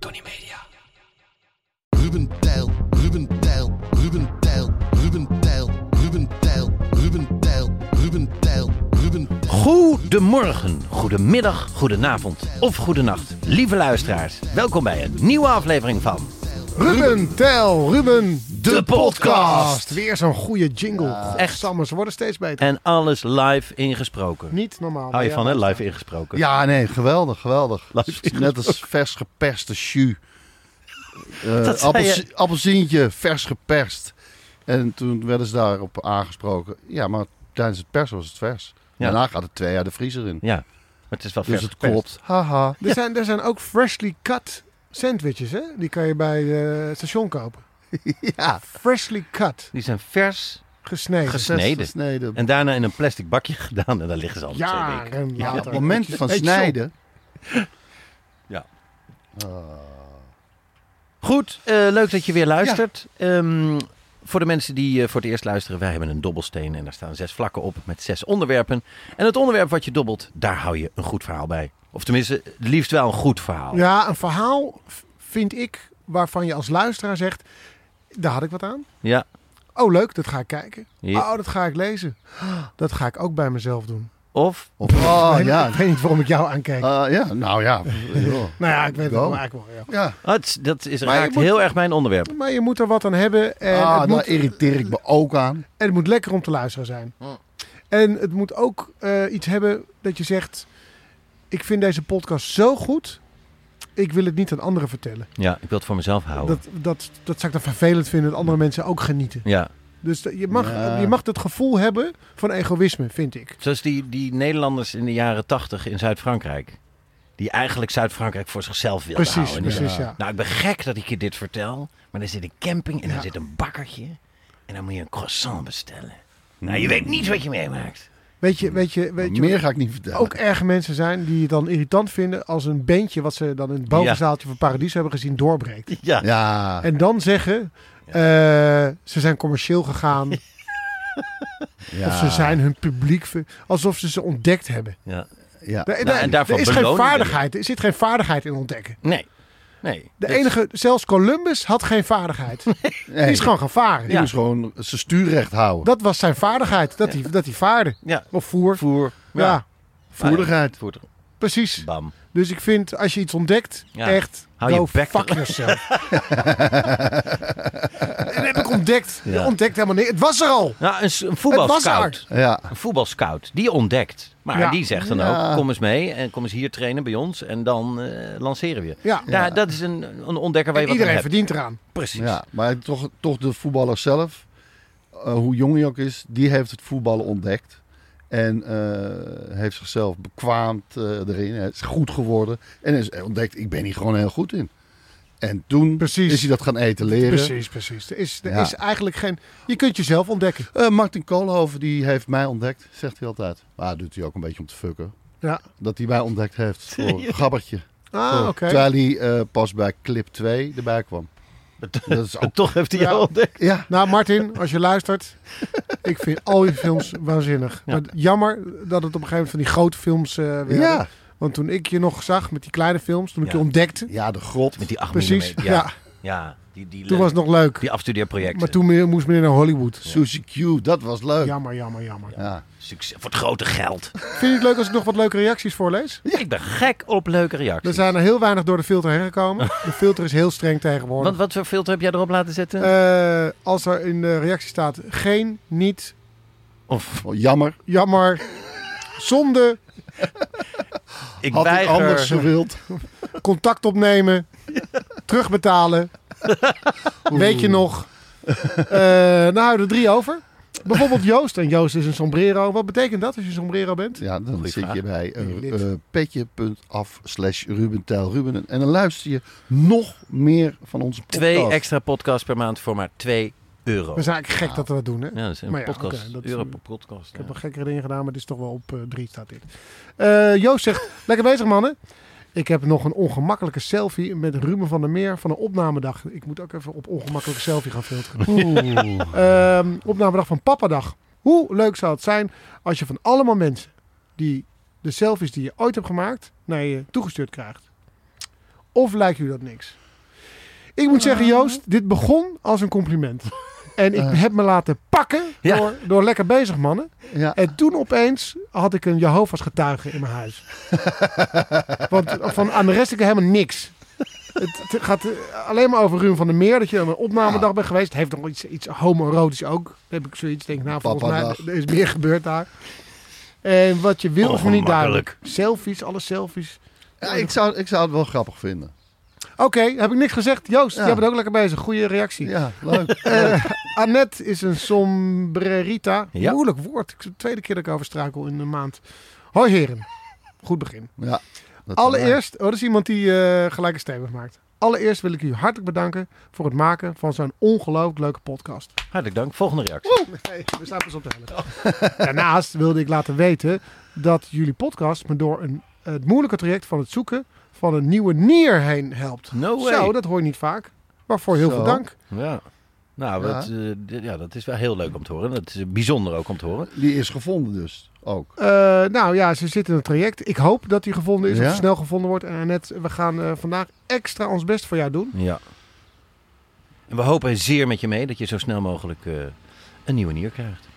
Tony Media. Ruben Tijl, Ruben Tijl, Ruben Tijl, Ruben Tijl, Ruben Tijl, Ruben Tijl, Ruben Tijl, Ruben Tijl. Goedemorgen, goedemiddag, goedenavond of goedenacht. Lieve luisteraars, welkom bij een nieuwe aflevering van... Ruben, tel, Ruben, de, podcast. Weer zo'n goede jingle. Echt. echt. Samen, ze worden steeds beter. En alles live ingesproken. Niet normaal. Hou je Ja, van, hè? luister. Live ingesproken. Ja, nee, geweldig, geweldig. Laat het zien. Net als vers geperste jus. Eh, Dat zei appels- je. Appelsientje, vers geperst. En toen werden ze daarop aangesproken. Ja, maar tijdens het persen was het vers. Ja. Daarna gaat het twee jaar de vriezer in. Ja, maar het is wel Dus vers het geperst. klopt. Haha. Er, zijn, er zijn ook freshly cut sandwiches, hè? Die kan je bij eh, het station kopen. Ja, Freshly cut, Die zijn vers gesneden. gesneden. gesneden. En daarna in een plastic bakje gedaan. En daar liggen ze al twee weken. Jaren later. op het moment van Hey, John. snijden. Ah. Goed, eh, leuk dat je weer luistert. Ehm, voor de mensen die eh, voor het eerst luisteren, wij hebben een dobbelsteen en daar staan zes vlakken op met zes onderwerpen. En het onderwerp wat je dobbelt, daar hou je een goed verhaal bij. Of tenminste, het liefst wel een goed verhaal. Ja, een verhaal v- vind ik waarvan je als luisteraar zegt, daar had ik wat aan. Ja. Oh, leuk, dat ga ik kijken. Ja. Oh, dat ga ik lezen. Dat ga ik ook bij mezelf doen. Of, Of, oh Ik weet- ja. Ik weet niet waarom ik jou aankijk. Eh, ja, nou ja. joh. nou ja, ik weet het Go. wel, eigenlijk wel. Ja. ja. Ah, het is- dat is, Maar je raakt moet- heel erg mijn onderwerp. Maar je moet er wat aan hebben. En Ah, daar het, moet, irriteer ik me ook aan. en het moet lekker om te luisteren zijn. En het moet ook eh, iets hebben dat je zegt... Ik vind deze podcast zo goed. Ik wil het niet aan anderen vertellen. Ja, ik wil het voor mezelf Oh. houden. Dat, dat, dat zou ik dan vervelend vinden dat andere mensen ook genieten. Ja, Dus dat- je mag, Ja. je mag het gevoel hebben van egoïsme, vind ik. zoals die, die Nederlanders in de jaren tachtig in Zuid-Frankrijk. Die eigenlijk Zuid-Frankrijk voor zichzelf wilden Precies, houden. En die precies, ja. Nou, ik ben gek dat ik je dit vertel, maar er zit een camping en er Ja. zit een bakkertje. En dan moet je een croissant bestellen. Nou, Mm. je weet niet wat je meemaakt. Weet je, weet je, weet je Meer ga ik niet vertellen. ook erg mensen zijn die het dan irritant vinden als een bandje wat ze dan in het bovenzaaltje van Paradies hebben gezien doorbreekt. Ja, Ja. En dan zeggen, eh, ze zijn commercieel gegaan. ja. Of ze zijn hun publiek, ver- alsof ze ze ontdekt hebben. ja. Ja. Er- er- Nou, en daarvoor er is geen belonen we vaardigheid. Er zit geen vaardigheid in ontdekken. Nee, nee. De e- Dus- enige, zelfs Columbus had geen vaardigheid. Die Nee. is gewoon gevaren. Die moest dus gewoon zijn stuur recht houden. Dat was zijn vaardigheid, dat hij, dat hij vaarde. Ja, Of voer. voer. Ja, Voerdigheid. Voer. precies. Bam. Dus ik vind, als je iets ontdekt, Ja. echt, Hou go je bek fuck er- yourself. dat heb ik ontdekt. Ja. Je ontdekt helemaal niks. Het was er al. Nou, een, s- een Het voetbalscout. was Ja. Een voetbalscout, die ontdekt. Maar Ja. die zegt dan Ja. ook, kom eens mee en kom eens hier trainen bij ons. En dan eh, lanceren we je. Ja. Daar- Dat is een, een ontdekker waar je wat aan Iedereen hebt. verdient eraan. Precies. Ja, maar toch, toch de voetballer zelf, eh, hoe jong hij ook is, die heeft het voetballen ontdekt. En eh, heeft zichzelf bekwaamd eh, erin. Hij is goed geworden. En is ontdekt, ik ben hier gewoon heel goed in. En toen Precies. is hij dat gaan eten leren. Precies, precies. Er is, er Ja. is eigenlijk geen... Je kunt jezelf ontdekken. Eh, Martin Koolhoven die heeft mij ontdekt, zegt hij altijd. Maar dat doet hij ook een beetje om te fucken. Ja. Dat hij mij ontdekt heeft voor een gabbertje. Ah, Voor- oké. Terwijl hij eh, pas bij clip 2 erbij kwam. Dat is En ook... toch heeft hij Ja. jou ontdekt. Ja, Nou, Martin, als je luistert, ik vind al je films waanzinnig. Maar jammer dat het op een gegeven moment van die grote films eh werden. Ja. Want toen ik je nog zag met die kleine films, toen ik Ja. je ontdekte, ja de grot. Met die 8 Precies, mm. Ja. ja. ja. Die, die, eh, toen was het nog leuk. die afstudeerprojecten. Maar toen meer- moest meneer naar Hollywood. Suzy Q, dat was leuk. Ja. Jammer, jammer, jammer. Succes, voor het grote geld. Vind je het leuk als ik nog wat leuke reacties voorlees? Ik ben gek op leuke reacties. Er zijn er heel weinig door de filter heen gekomen. De filter is heel streng tegenwoordig. Want wat voor filter heb jij erop laten zetten? Eh, als er in de reactie staat geen, niet, of Oh, jammer. jammer, zonde, ik Had ik weiger... anders gewild. contact opnemen, terugbetalen. Weet je nog? Eh, nou, de drie over. Bijvoorbeeld Joost. En Joost is een sombrero. Wat betekent dat als je sombrero bent? Ja, dan Goeie zit vraag. je bij Lid. eh, eh, petje.af slash Ruben Tijl Ruben. En dan luister je nog meer van onze podcast. Twee extra podcasts per maand voor maar 2 euro. Dat is eigenlijk gek dat we dat doen, hè? Ja, dat is een Dus- Maar ja, podcast. oké, dat is- euro per podcast. Ik heb ja. nog gekkere dingen gedaan, maar dit is toch wel op eh, drie staat dit. Eh, Joost zegt, lekker bezig mannen. Ik heb nog een ongemakkelijke selfie met Ruben van der Meer van een opnamedag. Ik moet ook even op ongemakkelijke selfie gaan filteren. Ehm, opnamedag van Papadag. Hoe leuk zou het zijn als je van allemaal mensen die de selfies die je ooit hebt gemaakt naar je toegestuurd krijgt? Of lijkt u dat niks? Ik moet zeggen, Joost, dit begon als een compliment. En ik Eh. heb me laten pakken Ja. door, door lekker bezig mannen. Ja, En toen opeens had ik een Jehovah's getuige in mijn huis. Want van, aan de rest heb ik helemaal niks. Het, het gaat eh, alleen maar over Ruim van der Meer. Dat je aan een opnamedag bent geweest. Het heeft nog iets, iets homoerotisch ook. Dan heb ik zoiets. Denk, nou, volgens mij Papadag. Oh, er is meer gebeurd daar. En wat je wil of niet duidelijk. Ongemakkelijk. Selfies, alle selfies. Ja, ik, zou, ik zou het wel grappig vinden. Oké, heb ik niks gezegd. Joost, Ja. jij bent ook lekker bezig. Goede reactie. Ja, leuk. Annette is een sombrerita. Ja. Moeilijk woord. Ik- de tweede keer dat ik over struikel in een maand. Hoi heren. Goed begin. ja, dat Allereerst, oh, dat is iemand die eh, gelijk een stevig maakt. Allereerst wil ik u hartelijk bedanken voor het maken van zo'n ongelooflijk leuke podcast. Hartelijk dank. Volgende reactie. Nee, we staan pas op de helft. Daarnaast wilde ik laten weten dat jullie podcast me door een, het moeilijke traject van het zoeken van een nieuwe nier heen helpt. No way. Zo, dat hoor je niet vaak. Waarvoor heel Zo. veel dank. Ja. Nou, Ja. Dat, eh, dit- ja, dat is wel heel leuk om te horen. Dat is eh, bijzonder ook om te horen. Die is gevonden dus ook. Eh, nou ja, ze zitten in een traject. Ik hoop dat die gevonden is Ja. of ze snel gevonden wordt. En Annette, we gaan eh, vandaag extra ons best voor jou doen. Ja. En we hopen zeer met je mee dat je zo snel mogelijk eh, een nieuwe nier krijgt.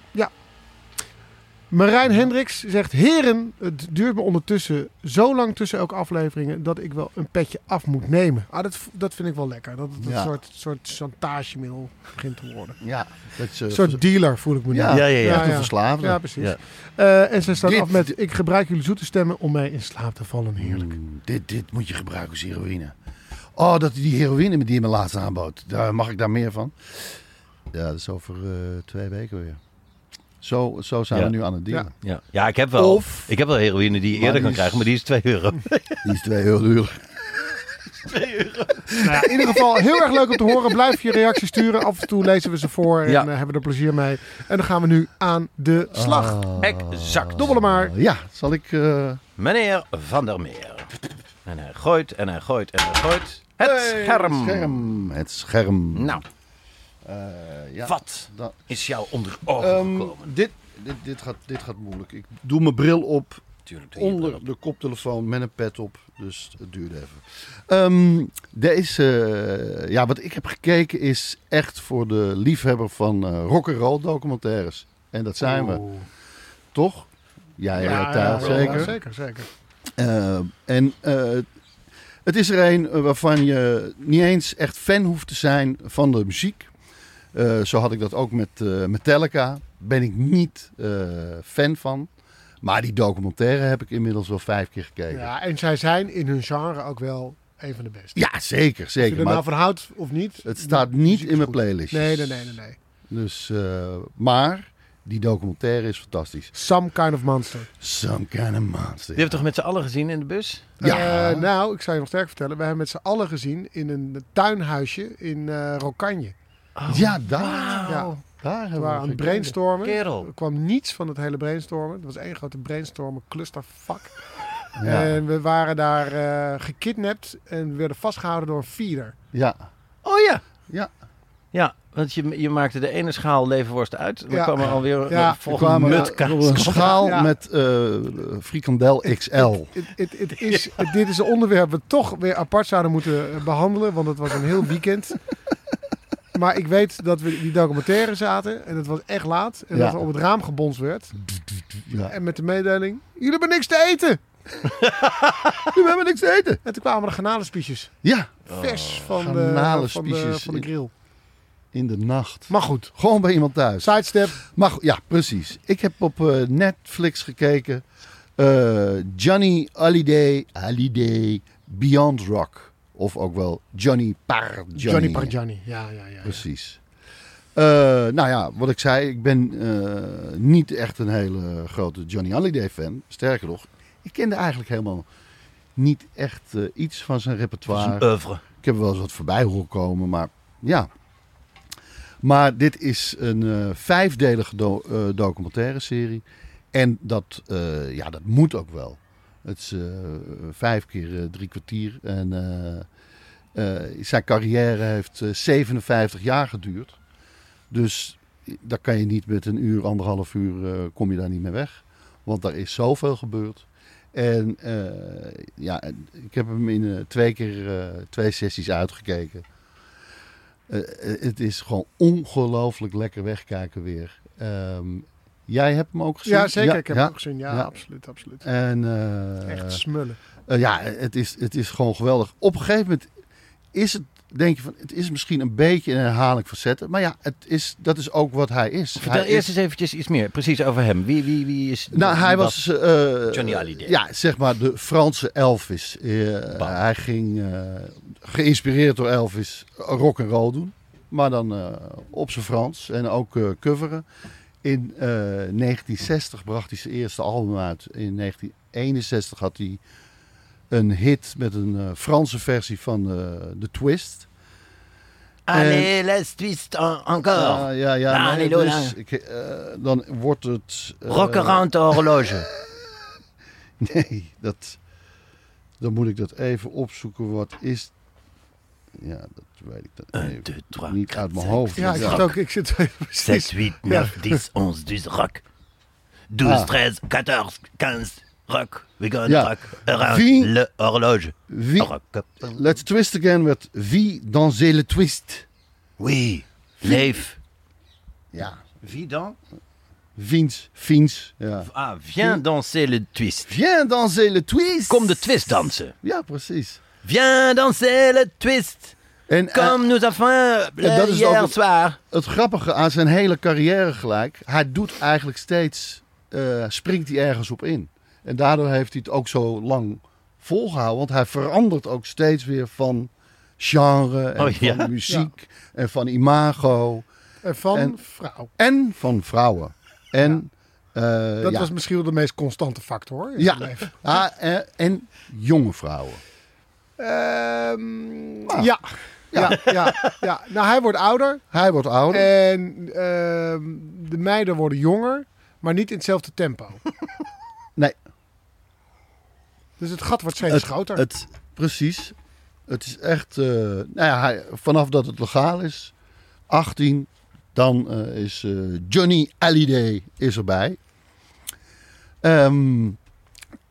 Marijn Hendricks zegt... Heren, het duurt me ondertussen zo lang tussen elke afleveringen... dat ik wel een petje af moet nemen. Ah, dat, v- dat vind ik wel lekker. Dat het een Ja. soort, soort chantagemiddel begint te worden. Ja, dat is, eh, Een soort dealer voel ik me nu. ja, ja, ja, Ja, Een ja. verslaafde. Ja, precies. Ja. Eh, en ze staat Dit- af met... Ik gebruik jullie zoete stemmen om mij in slaap te vallen. Heerlijk. Mm, dit, dit moet je gebruiken als heroïne. Oh, dat die heroïne die je me laatst aanbood. Daar mag ik daar meer van. Ja, dat is over eh, twee weken weer. Zo, zo zijn Ja. we nu aan het dealen. Ja, ja ik, heb wel, Of- ik heb wel heroïne die je Maar eerder die kan is- krijgen, maar die is 2 euro. Die is twee euro duur. Nou ja, in ieder geval heel erg leuk om te horen. Blijf je reacties sturen. Af en toe lezen we ze voor en Ja. eh, hebben we er plezier mee. En dan gaan we nu aan de slag. Ah. Exact. Dobbelen maar. Ja, zal ik... eh, Meneer Van der Meer. En hij gooit en hij gooit en hij gooit. Het hey, scherm. scherm. Het scherm. Nou, Eh, ja. wat Dan- is jou onder ogen Ehm, gekomen? dit, dit, dit, gaat, dit gaat moeilijk. Ik doe mijn bril op Tuurlijk, doe je onder dat. de koptelefoon met een pet op. Dus het duurde even. Ehm, deze, eh, ja, wat ik heb gekeken is echt voor de liefhebber van eh rock'n'roll documentaires. En dat zijn we, toch? Jij, Oh. ja, Thijs, Oh. ja, zeker. ja, zeker, zeker. Eh, en eh, het is er een eh, waarvan je niet eens echt fan hoeft te zijn van de muziek. Eh, zo had ik dat ook met eh, Metallica. Ben ik niet eh, fan van. Maar die documentaire heb ik inmiddels wel vijf keer gekeken. Ja, Ja, en zij zijn in hun genre ook wel een van de beste. zeker, Als je zeker. er Maar nou van houdt of niet. het staat muziek niet is in mijn goed. playlist. Nee, nee, nee, nee, nee. Dus, eh, maar die documentaire is fantastisch. Some kind of monster. Some kind of monster. Die hebben we toch met z'n allen gezien in de bus? Ja. Eh, nou, ik zou je nog sterk vertellen. We hebben met z'n allen gezien in een tuinhuisje in eh Rokanje. ja, daar, Ja, daar we hebben we waren aan het gekeken. brainstormen. Oh, Kerel. Er kwam niets van het hele brainstormen. Het was één grote brainstormen clusterfuck. Ja. En we waren daar eh, gekidnapt en we werden vastgehouden door een feeder. Ja. Oh ja. Ja. Ja, want je, je maakte de ene schaal levenworst uit. Dan Ja. kwam er alweer Ja. een volgende mutkaas. op een schaal Ja. met eh, frikandel XL. Het- het- het is, het- dit is een onderwerp we toch weer apart zouden moeten eh, behandelen, want het was een heel weekend. Maar ik weet dat we in die documentaire zaten en het was echt laat. En Ja. dat er op het raam gebonst werd. Ja. En met de mededeling, jullie hebben niks te eten! We hebben niks te eten. En toen kwamen er granalenspiesjes. Ja, Vers van, de, van, de, Garnalenspiesjes. van de grill. in de nacht. Maar goed, Gewoon bij iemand thuis. sidestep. Maar goed, ja, precies. Ik heb op eh, Netflix gekeken. eh, Johnny Holiday, Holiday Beyond Rock. Of ook wel Johnny Par Johnny. Johnny Parjani. Ja, ja, ja. ja. Precies. Eh, nou ja, wat ik zei, ik ben eh, niet echt een hele grote Johnny Hallyday fan. Sterker nog, ik kende eigenlijk helemaal niet echt eh, iets van zijn repertoire. Zijn oeuvre. Ik heb er wel eens wat voorbij horen komen, maar ja. Maar dit is een eh, vijfdelige do- eh, documentaire serie. En dat, eh, ja, dat moet ook wel. Het is eh, vijf keer eh, drie kwartier. En eh, eh, zijn carrière heeft eh, 57 jaar geduurd. Dus daar kan je niet met een uur, anderhalf uur, eh, kom je daar niet mee weg. Want daar is zoveel gebeurd. En eh, ja, en ik heb hem in eh, twee keer eh, twee sessies uitgekeken. Eh, eh, het is gewoon ongelooflijk lekker wegkijken weer. Ehm, jij hebt hem ook gezien? Ja, zeker. ik heb ja. het ook gezien. Ja, ja. absoluut, absoluut. En, eh, Echt smullen. eh, ja, het is, het is gewoon geweldig. Op een gegeven moment is het, denk je van, het is misschien een beetje een herhaling van zetten. Maar ja, het is, dat is ook wat hij is. Vertel hij eerst is, eens eventjes iets meer, precies over hem. Wie, wie, wie is... nou, hij wat- was... eh, Johnny Hallyday. Ja, zeg maar de Franse Elvis. Eh, Bam. hij ging, eh, geïnspireerd door Elvis, rock en roll doen. Maar dan eh, op zijn Frans en ook eh, coveren. In eh, 1960 bracht hij zijn eerste album uit. In 1961 had hij een hit met een eh, Franse versie van eh The Twist. Allez, let's twist en- encore. Ah, eh, ja, ja. nee, Halleluja. dus ik, eh, dan wordt het... eh, Rock around the horloge. Nee, dat, dan moet ik dat even opzoeken. Wat is... Ja, dat weet ik dan Un, even deux, trois, niet quatre, uit mijn cinq, hoofd. Ja, ik Ja. zit ook. Ik zit precies. 7, 8, 9, 10, 11, 12, rock. 12, Ah. 13, 14, 15, rock. We gonna Ja. rock around Wie- le horloge. Wie, Rock. let's twist again met Wie danser le twist? Oui, leef. Ja, Wie dan? Viens, Viens. Ja. Ah, viens danser le twist. Viens danser le twist! Kom de twist dansen. Ja, precies. Viens danser le twist. En eh, Euh, Comme nous avons Ja, dat is hier ook- soir. het grappige aan zijn hele carrière gelijk, hij doet eigenlijk steeds, eh, springt hij ergens op in. En daardoor heeft hij het ook zo lang volgehouden, want hij verandert ook steeds weer van genre en Oh, ja? van muziek en van imago En eh, van En- vrouw. en van vrouwen. En, eh, Dat ja. was misschien wel de meest constante factor. hoor, in ja. zijn leven. Ja, en, en jonge vrouwen. Ehm, Ah. ja. Ja, ja, ja. Nou, hij wordt ouder. Hij wordt ouder. En ehm, de meiden worden jonger, maar niet in hetzelfde tempo. Nee. Dus het gat wordt steeds het, groter. Het, precies. Het is echt, eh, nou ja, hij- vanaf dat het legaal is, 18, dan eh, is eh, Johnny Hallyday is erbij. Ehm,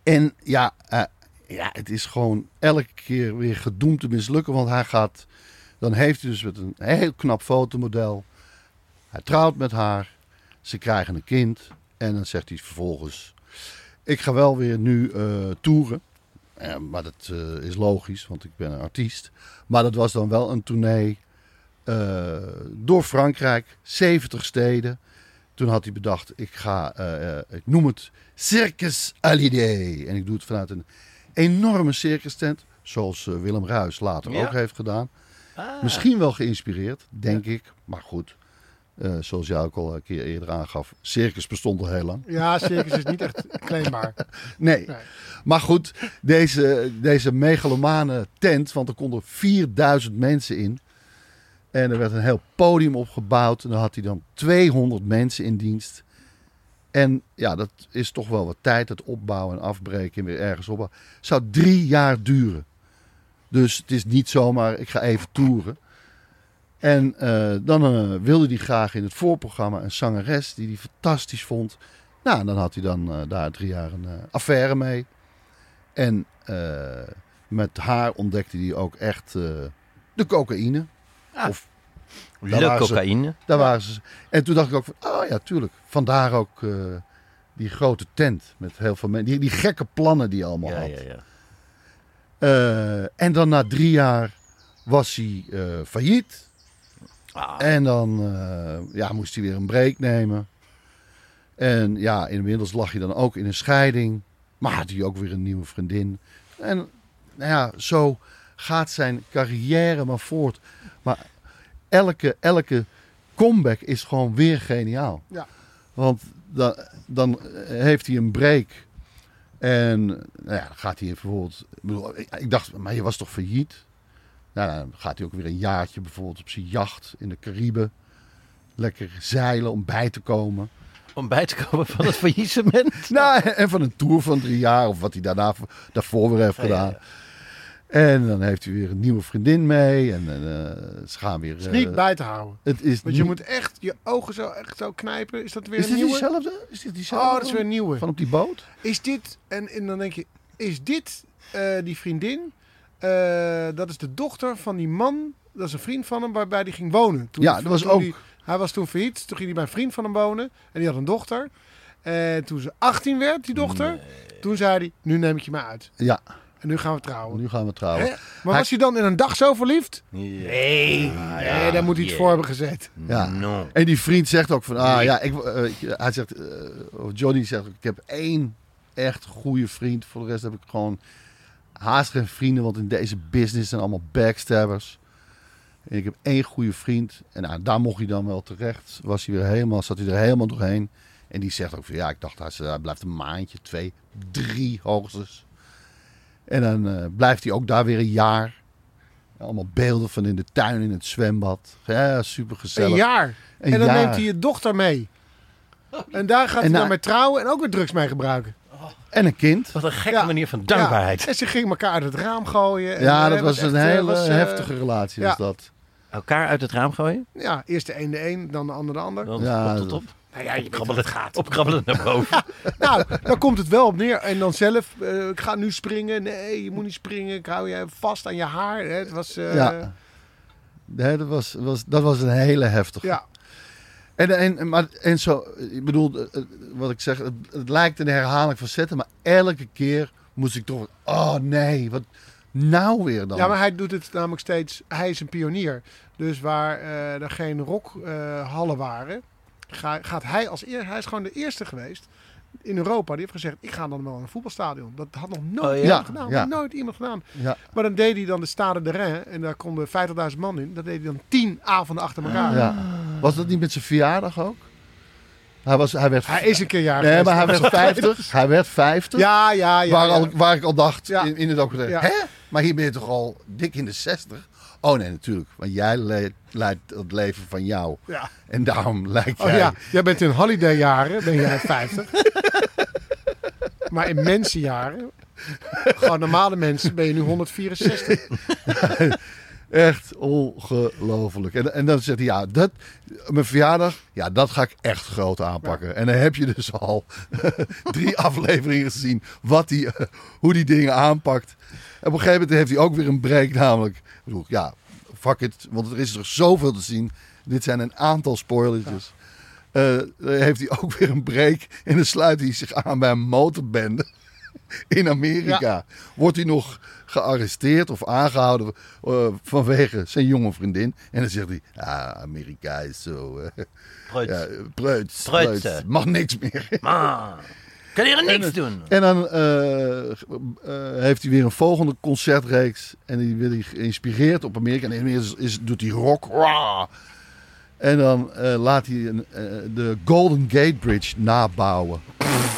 en ja, eh, ja, het is gewoon elke keer weer gedoemd te mislukken, want hij gaat, dan heeft hij dus met een heel knap fotomodel, hij trouwt met haar, ze krijgen een kind en dan zegt hij vervolgens, ik ga wel weer nu eh toeren. Eh, maar dat eh, is logisch, want ik ben een artiest. Maar dat was dan wel een tournee eh, door Frankrijk, 70 steden. Toen had hij bedacht, ik ga, eh, eh, ik noem het Circus Hallyday. En ik doe het vanuit een enorme circus tent, zoals eh, Willem Ruis later Ja. ook heeft gedaan. Misschien wel geïnspireerd, denk ik. Maar goed, eh, zoals jij ook al een keer eerder aangaf, circus bestond al heel lang. Ja, circus is niet echt claimbaar. Nee. Nee. Maar goed, deze, deze megalomane tent, want er konden 4000 mensen in. En er werd een heel podium opgebouwd. En dan had hij dan 200 mensen in dienst. En ja, dat is toch wel wat tijd. Het opbouwen en afbreken en weer ergens opbouwen. Zou drie jaar duren. Dus het is niet zomaar, ik ga even toeren. En eh, dan eh, wilde hij graag in het voorprogramma een zangeres die hij fantastisch vond. Nou, en dan had hij dan eh, daar drie jaar een eh, affaire mee. En eh, met haar ontdekte hij ook echt eh, de cocaïne. Ah. Of Daar Le waren ze. cocaïne. daar waren ze. En toen dacht ik ook van, oh ja, tuurlijk. Vandaar ook eh, die grote tent met heel veel mensen. Die, die gekke plannen die hij allemaal Ja, had. ja, ja. Eh, en dan na drie jaar was hij eh, failliet. Ah. En dan eh, ja, moest hij weer een break nemen. En ja, inmiddels lag hij dan ook in een scheiding. Maar had hij ook weer een nieuwe vriendin. En nou ja, zo gaat zijn carrière maar voort. Maar elke, elke comeback is gewoon weer geniaal. Ja. Want dan, dan heeft hij een break. En nou ja, dan gaat hij bijvoorbeeld. Ik, bedoel, ik, ik dacht, maar je was toch failliet? Nou, dan gaat hij ook weer een jaartje bijvoorbeeld op zijn jacht in de Cariben. Lekker zeilen om bij te komen. Om bij te komen van het faillissement. Nou, en van een tour van drie jaar of wat hij daarna, daarvoor weer heeft Ja, ja, ja. gedaan. En dan heeft hij weer een nieuwe vriendin mee. En eh, ze gaan weer. Is eh, niet bij te houden. het is Want je niet- moet echt je ogen zo, echt zo knijpen. Is dat weer Is een dit nieuwe? diezelfde? Is dit diezelfde? Oh, dat is weer een nieuwe. Van op die boot? Is dit, en, en dan denk je, is dit eh, die vriendin? Eh, dat is de dochter van die man, dat is een vriend van hem, waarbij die ging wonen. Toen, Ja, dat was toen ook- die- hij was toen failliet, toen ging hij bij een vriend van hem wonen en die had een dochter. En toen ze 18 werd, die dochter, toen zei hij, nu neem ik je maar uit. Ja, En nu gaan we trouwen. nu gaan we Hè? trouwen. Maar was hij dan in een dag zo verliefd? Nee. nee, daar moet hij het voor hebben gezet. Ja. No. En die vriend zegt ook van, ah ja, ik, eh, ik- hij zegt, eh, of Johnny zegt, ook, ik heb één echt goede vriend. Voor de rest heb ik gewoon haast geen vrienden, want in deze business zijn allemaal backstabbers. En ik heb één goede vriend. En nou, daar mocht hij dan wel terecht. Was hij weer helemaal, zat hij er helemaal doorheen. En die zegt ook van, ja, ik dacht, hij, is- hij blijft een maandje, twee, drie hoogstens. En dan eh, blijft hij ook daar weer een jaar. Allemaal beelden van in de tuin, in het zwembad. Ja, super gezellig. Een jaar. Een en dan jaar. neemt hij je dochter mee. En daar gaat hij na- dan mee trouwen en ook weer drugs mee gebruiken. En een kind. Wat een gekke Ja. manier van Ja, dankbaarheid. en ze gingen elkaar uit het raam gooien. En, Ja, eh, dat was echt, een eh, hele was, eh, heftige relatie ja. was dat. Elkaar uit het raam gooien. Ja, eerst de een de een, dan de ander de ander. Dan Ja, ja, tot dat- op. Nou ja, je krabbelend gaat. Opkrabbelen naar boven. Nou, daar komt het wel op neer. En dan zelf, eh, ik ga nu springen. Nee, je moet niet springen. Ik hou je vast aan je haar. Hè, Het was... eh, ja. Nee, dat, was, was, dat was een hele heftige. ja. En, en, maar, en zo, ik bedoel, eh, eh, wat ik zeg, het, het lijkt een herhaling van zetten, maar elke keer moest ik toch, oh nee, wat nou weer dan? Ja, maar hij doet het namelijk steeds. Hij is een pionier. Dus waar eh, er geen rockhallen waren, ga- gaat hij als eer. Hij is gewoon de eerste geweest in Europa. Die heeft gezegd: Ik ga dan wel naar een voetbalstadion. Dat had nog nooit Oh, ja. iemand Ja, gedaan. ja. Nog Nooit iemand gedaan. Ja, Maar dan deed hij dan de Stade de Rennes. En daar konden 50.000 man in. Dat deed hij dan 10 avonden achter elkaar. ja. Was dat niet met zijn verjaardag ook? Hij, was, hij werd... Hij is een keer jarig. nee, geweest. maar hij werd 50. Hij werd 50. Ja, ja, ja. waar, ja. Al, waar ik al dacht Ja. in, in het documentaire. Ja. Hè? Maar hier ben je toch al dik in de 60? Oh nee, natuurlijk. Want jij le- leidt het leven van jou. Ja. En daarom lijkt Oh jij... ja, jij bent in holidayjaren, ben jij 50. maar in mensenjaren, gewoon normale mensen, ben je nu 164. Echt ongelooflijk. En, en dan zegt hij, ja, dat, mijn verjaardag, ja, dat ga ik echt groot aanpakken. En dan heb je dus al drie afleveringen gezien wat die, eh, hoe die dingen aanpakt. En op een gegeven moment heeft hij ook weer een break namelijk. Ik bedoel, ja, fuck it, want er is er zoveel te zien. Dit zijn een aantal spoilertjes. Eh, dan heeft hij ook weer een break en dan sluit hij zich aan bij een motorbende in Amerika. Wordt hij nog gearresteerd of aangehouden eh, vanwege zijn jonge vriendin. En dan zegt hij, ah, Amerika is zo... eh, Preuts. ja, preuts, Preuts, preuts, hè. mag niks meer. Maar. Kan hier niks doen. En dan eh, eh, heeft hij weer een volgende concertreeks. En die wil hij geïnspireerd op Amerika. En inmiddels is, doet hij rock. Rah! En dan eh, laat hij een, eh, de Golden Gate Bridge nabouwen.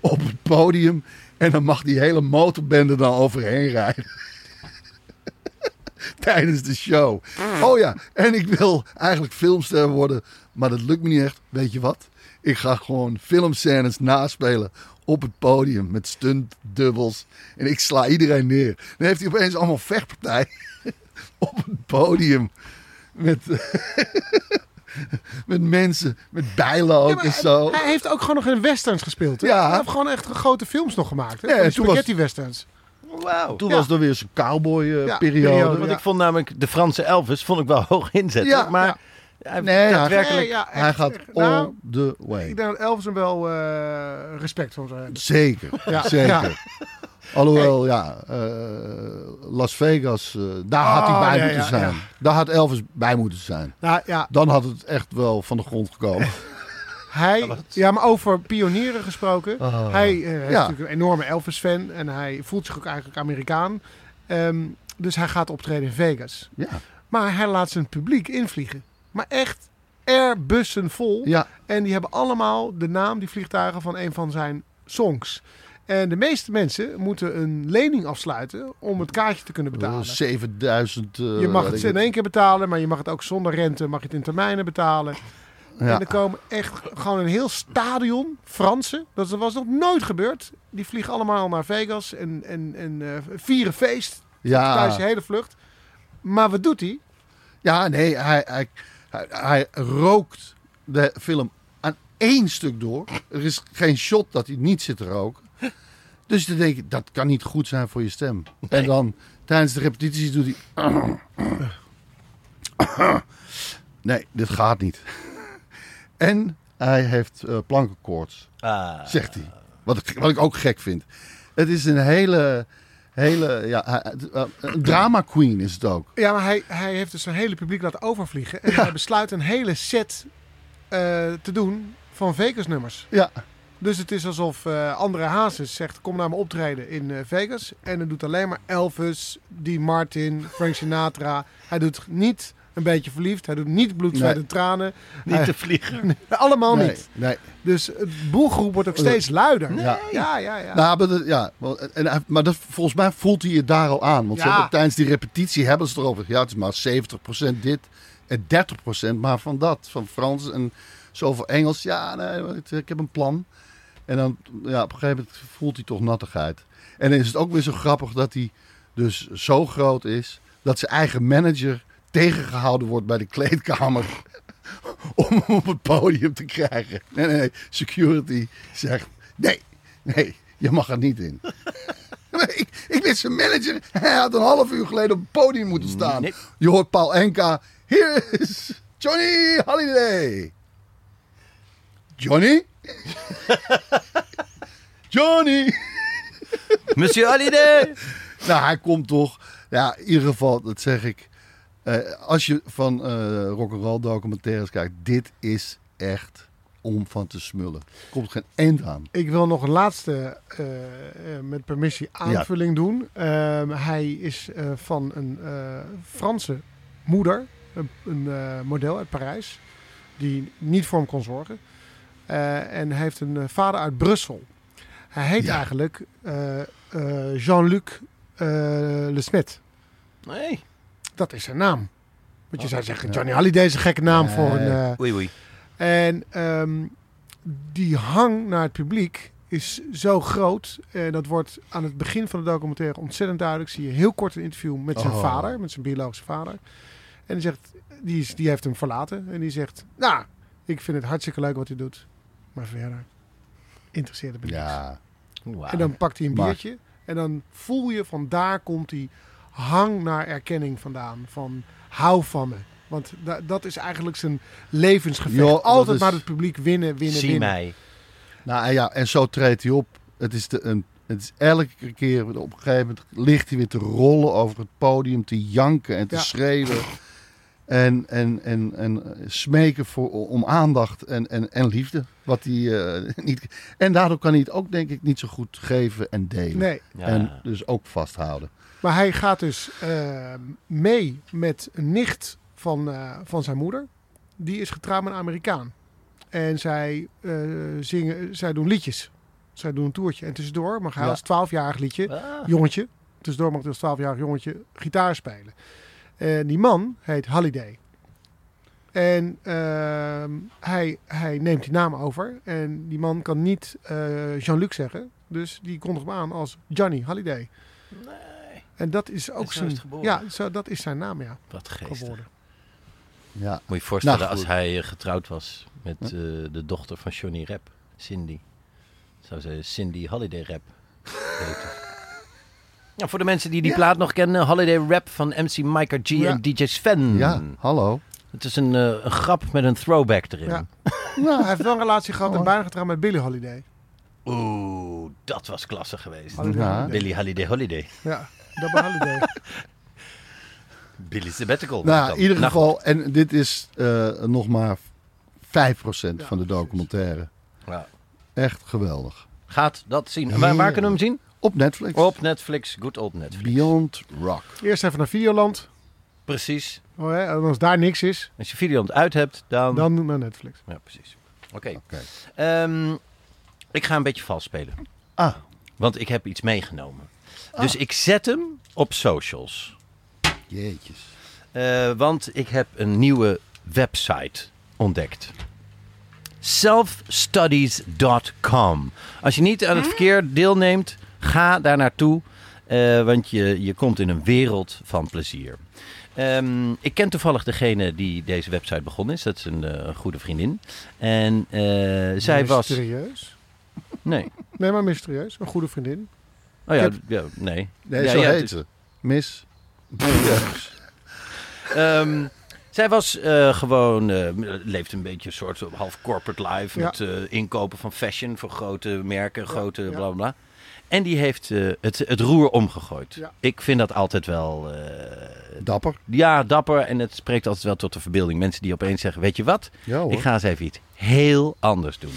op het podium. En dan mag die hele motorbende dan overheen rijden. Tijdens de show. Mm. Oh ja, en ik wil eigenlijk filmster worden. Maar dat lukt me niet echt. Weet je wat? Ik ga gewoon filmscènes naspelen op het podium met stuntdubbels. En ik sla iedereen neer. Dan heeft hij opeens allemaal vechtpartij op het podium. Met, met mensen, met bijlen ook en zo. Hij heeft ook gewoon nog in westerns gespeeld. Hè? Ja, Hij heeft gewoon echt grote films nog gemaakt. Hè? Ja, Van die toen was- spaghetti westerns. Wauw. Toen Ja. was er weer zijn Ja, cowboy-periode. periode, Want Ja. ik vond namelijk de Franse Elvis vond ik wel hoog inzetten. Ja, maar hij Nee, ja. daadwerkelijk. Nee, ja, echt. Hij gaat Echt. all Nou, the way. Ik denk dat Elvis hem wel eh, respect voor zou hebben. Dus- Zeker, Ja, zeker. ja. Alhoewel, ja, eh, Las Vegas, eh, daar had hij Oh, bij ja, moeten ja, zijn. ja. Daar had Elvis bij moeten zijn. Nou ja, Dan had het echt wel van de grond gekomen. Hij, ja, maar over pionieren gesproken. Hij eh, is Ja. natuurlijk een enorme Elvis-fan en hij voelt zich ook eigenlijk Amerikaan. Ehm, dus hij gaat optreden in Vegas. ja. Maar hij laat zijn publiek invliegen. Maar echt airbussen vol. Ja, En die hebben allemaal de naam, die vliegtuigen, van een van zijn songs. En de meeste mensen moeten een lening afsluiten om het kaartje te kunnen betalen. 7000. eh, Je mag weet het ik in één keer betalen, maar je mag het ook zonder rente, mag je het in termijnen betalen. En Ja. er komen echt gewoon een heel stadion Fransen. Dat was nog nooit gebeeld. Die vliegen allemaal naar Vegas en, en, en eh, vieren feest. Thuis de Ja, hele vlucht. Maar wat doet hij? ja nee, hij, hij, hij, hij rookt de film aan één stuk door. Er is geen shot dat hij niet zit te roken. Dus dan denk ik, dat kan niet goed zijn voor je stem. En dan tijdens de repetities doet hij... Nee, dit gaat niet. En hij heeft eh, plankenkoorts. Ah. zegt hij. Wat ik, wat ik ook gek vind. Het is een hele, hele, ja, hij- eh, een drama queen is het ook. Ja, maar hij, hij heeft dus zijn hele publiek laten overvliegen. En hij besluit een hele set eh, te doen van Vegas-nummers. Ja, Dus het is alsof eh André Hazes zegt, kom naar mijn optreden in eh, Vegas. En dan doet alleen maar Elvis, Dean Martin, Frank Sinatra. Hij doet niet een beetje verliefd. Hij doet niet bloed, zweet Nee. en tranen. Niet te vliegen. Allemaal nee, niet. nee. Dus het boelgroep wordt ook steeds luider. Ja. Ja, ja, ja. Nou, maar, dat- ja, wel, en, hij- maar dat, volgens mij voelt hij het daar al aan. Want ze Ja. hebben, tijdens die repetitie hebben ze het erover. Ja, het is maar 70% dit en 30% maar van dat. Van Frans en zoveel Engels. Ja, nee, het- ik heb een plan. En dan, ja, op een gegeven moment voelt hij toch nattigheid. En dan is het ook weer zo grappig dat hij dus zo groot is... dat zijn eigen manager tegengehouden wordt bij de kleedkamer... om hem op het podium te krijgen. Nee, nee, nee. Security zegt... Nee, nee, je mag er niet in. ik, ik ben zijn manager. Hij had een half uur geleden op het podium moeten staan. Nee. Je hoort Paul Enka. Hier is Johnny Holiday. Johnny? Johnny! Monsieur Hallyday! Nou, hij komt toch. Ja, in ieder geval, dat zeg ik. Eh, als je van rock rock'n'roll documentaires kijkt, dit is echt om van te smullen. Er komt geen eind aan. Ik wil nog een laatste, eh, eh, met permissie, aanvulling doen. Ehm, hij is eh, van een eh, Franse moeder, een, een eh, model uit Parijs, die niet voor hem kon zorgen. Eh, en hij heeft een eh, vader uit Brussel. Hij heet Ja. eigenlijk eh, eh, Jean-Luc eh Le Smet. Nee. Dat is zijn naam. Want je zou zeggen, Oh, ja. Johnny Hallyday is een gekke naam voor een... eh, Oei, oei. en ehm, die hang naar het publiek is zo groot. En dat wordt aan het begin van de documentaire ontzettend duidelijk. Zie je heel kort een interview met zijn Oh. vader, met zijn biologische vader. En die, zegt, die, is, die heeft hem verlaten. En die zegt, nou, ik vind het hartstikke leuk wat hij doet. Maar verder, interesseerde me niks. Ja. En dan pakt hij een Maar- biertje. En dan voel je, van daar komt die hang naar erkenning vandaan. Van hou van me. Want da- dat is eigenlijk zijn levensgevecht. Ja, dat Altijd is- maar het publiek winnen, winnen, Zie winnen. mij. Nou en ja, en zo treedt hij op. Het is, de, een, het is elke keer, op een gegeven moment ligt hij weer te rollen over het podium, te janken en te Ja. schreeuwen. En, en, en, en eh, smeken voor, om aandacht en, en, en liefde. Wat hij, eh, niet, en daardoor kan hij het ook denk ik niet zo goed geven en delen. Nee, Ja. En dus ook vasthouden. maar hij gaat dus eh, mee met een nicht van, eh, van zijn moeder. Die is getrouwd met een Amerikaan. En zij, eh, zingen, zij doen liedjes. Zij doen een toertje. En tussendoor mag hij Ja. als 12-jarig liedje Ah. jongetje, tussendoor mag het als 12-jarig jongetje gitaar spelen. En die man heet Halliday. En ehm, hij, hij neemt die naam over. En die man kan niet eh, Jean-Luc zeggen. Dus die kondigt hem aan als Johnny Halliday. Nee. En dat is ook zo is zijn. het geboren. Ja, zo, dat is zijn naam, ja. Wat geest. Geworden. Ja. Moet je je voorstellen Nou, als goed. hij eh, getrouwd was met eh, de dochter van Johnny Rep, Cindy. Zou ze Cindy Holiday Rap heten. Ja, voor de mensen die die plaat nog kennen, Holiday Rap van MC Micah G Ja. en DJ Sven. ja, hallo. Het is een, eh, een grap met een throwback erin. Ja. Hij heeft wel een relatie gehad Oh. en bijna getrouwd met Billy Holiday. Oeh, dat was klasse geweest. Holiday, Ja. Holiday. Billy Holiday Holiday. Ja, double Holiday. Billy Sabbatical. Nou, in ieder Nou, geval, en dit is eh, nog maar 5% Ja, van de documentaire. ja. Echt geweldig. Gaat dat zien. En Waar, waar kunnen we hem zien? Op Netflix. Op Netflix. Good old Netflix. Beyond Rock. Eerst even naar Videoland. Precies. Oh, hè? En als daar niks is, Als je Videoland uit hebt, dan... dan doe maar Netflix. Ja, precies. Oké. Oké. Ehm, ik ga een beetje vals spelen. Ah, Want ik heb iets meegenomen. Dus ik zet hem op socials. jeetjes. Eh, want ik heb een nieuwe website ontdekt. Selfstudies.com. Als je niet aan het verkeer deelneemt, ga daar naartoe. eh, want je, je komt in een wereld van plezier. Ehm, ik ken toevallig degene die deze website begonnen is. Dat is een eh, goede vriendin. En eh, zij was. Mysterieus. Nee. Nee, maar mysterieus. Een goede vriendin. Oh ja, Ik ja nee. Nee, Ja, zo ja, dus- het heet is- ze. Miss. Ehm, zij was eh, gewoon, eh, leeft een beetje een soort half corporate life. Ja. Met eh, inkopen van fashion voor grote merken, grote ja. bla bla, bla. En die heeft eh, het, het roer omgegooid. Ja. Ik vind dat altijd wel. eh, Dapper. ja, dapper. En het spreekt altijd wel tot de verbeelding. Mensen die opeens zeggen: Weet je wat? Ja Oh, hoor. Ik ga eens even iets heel anders doen.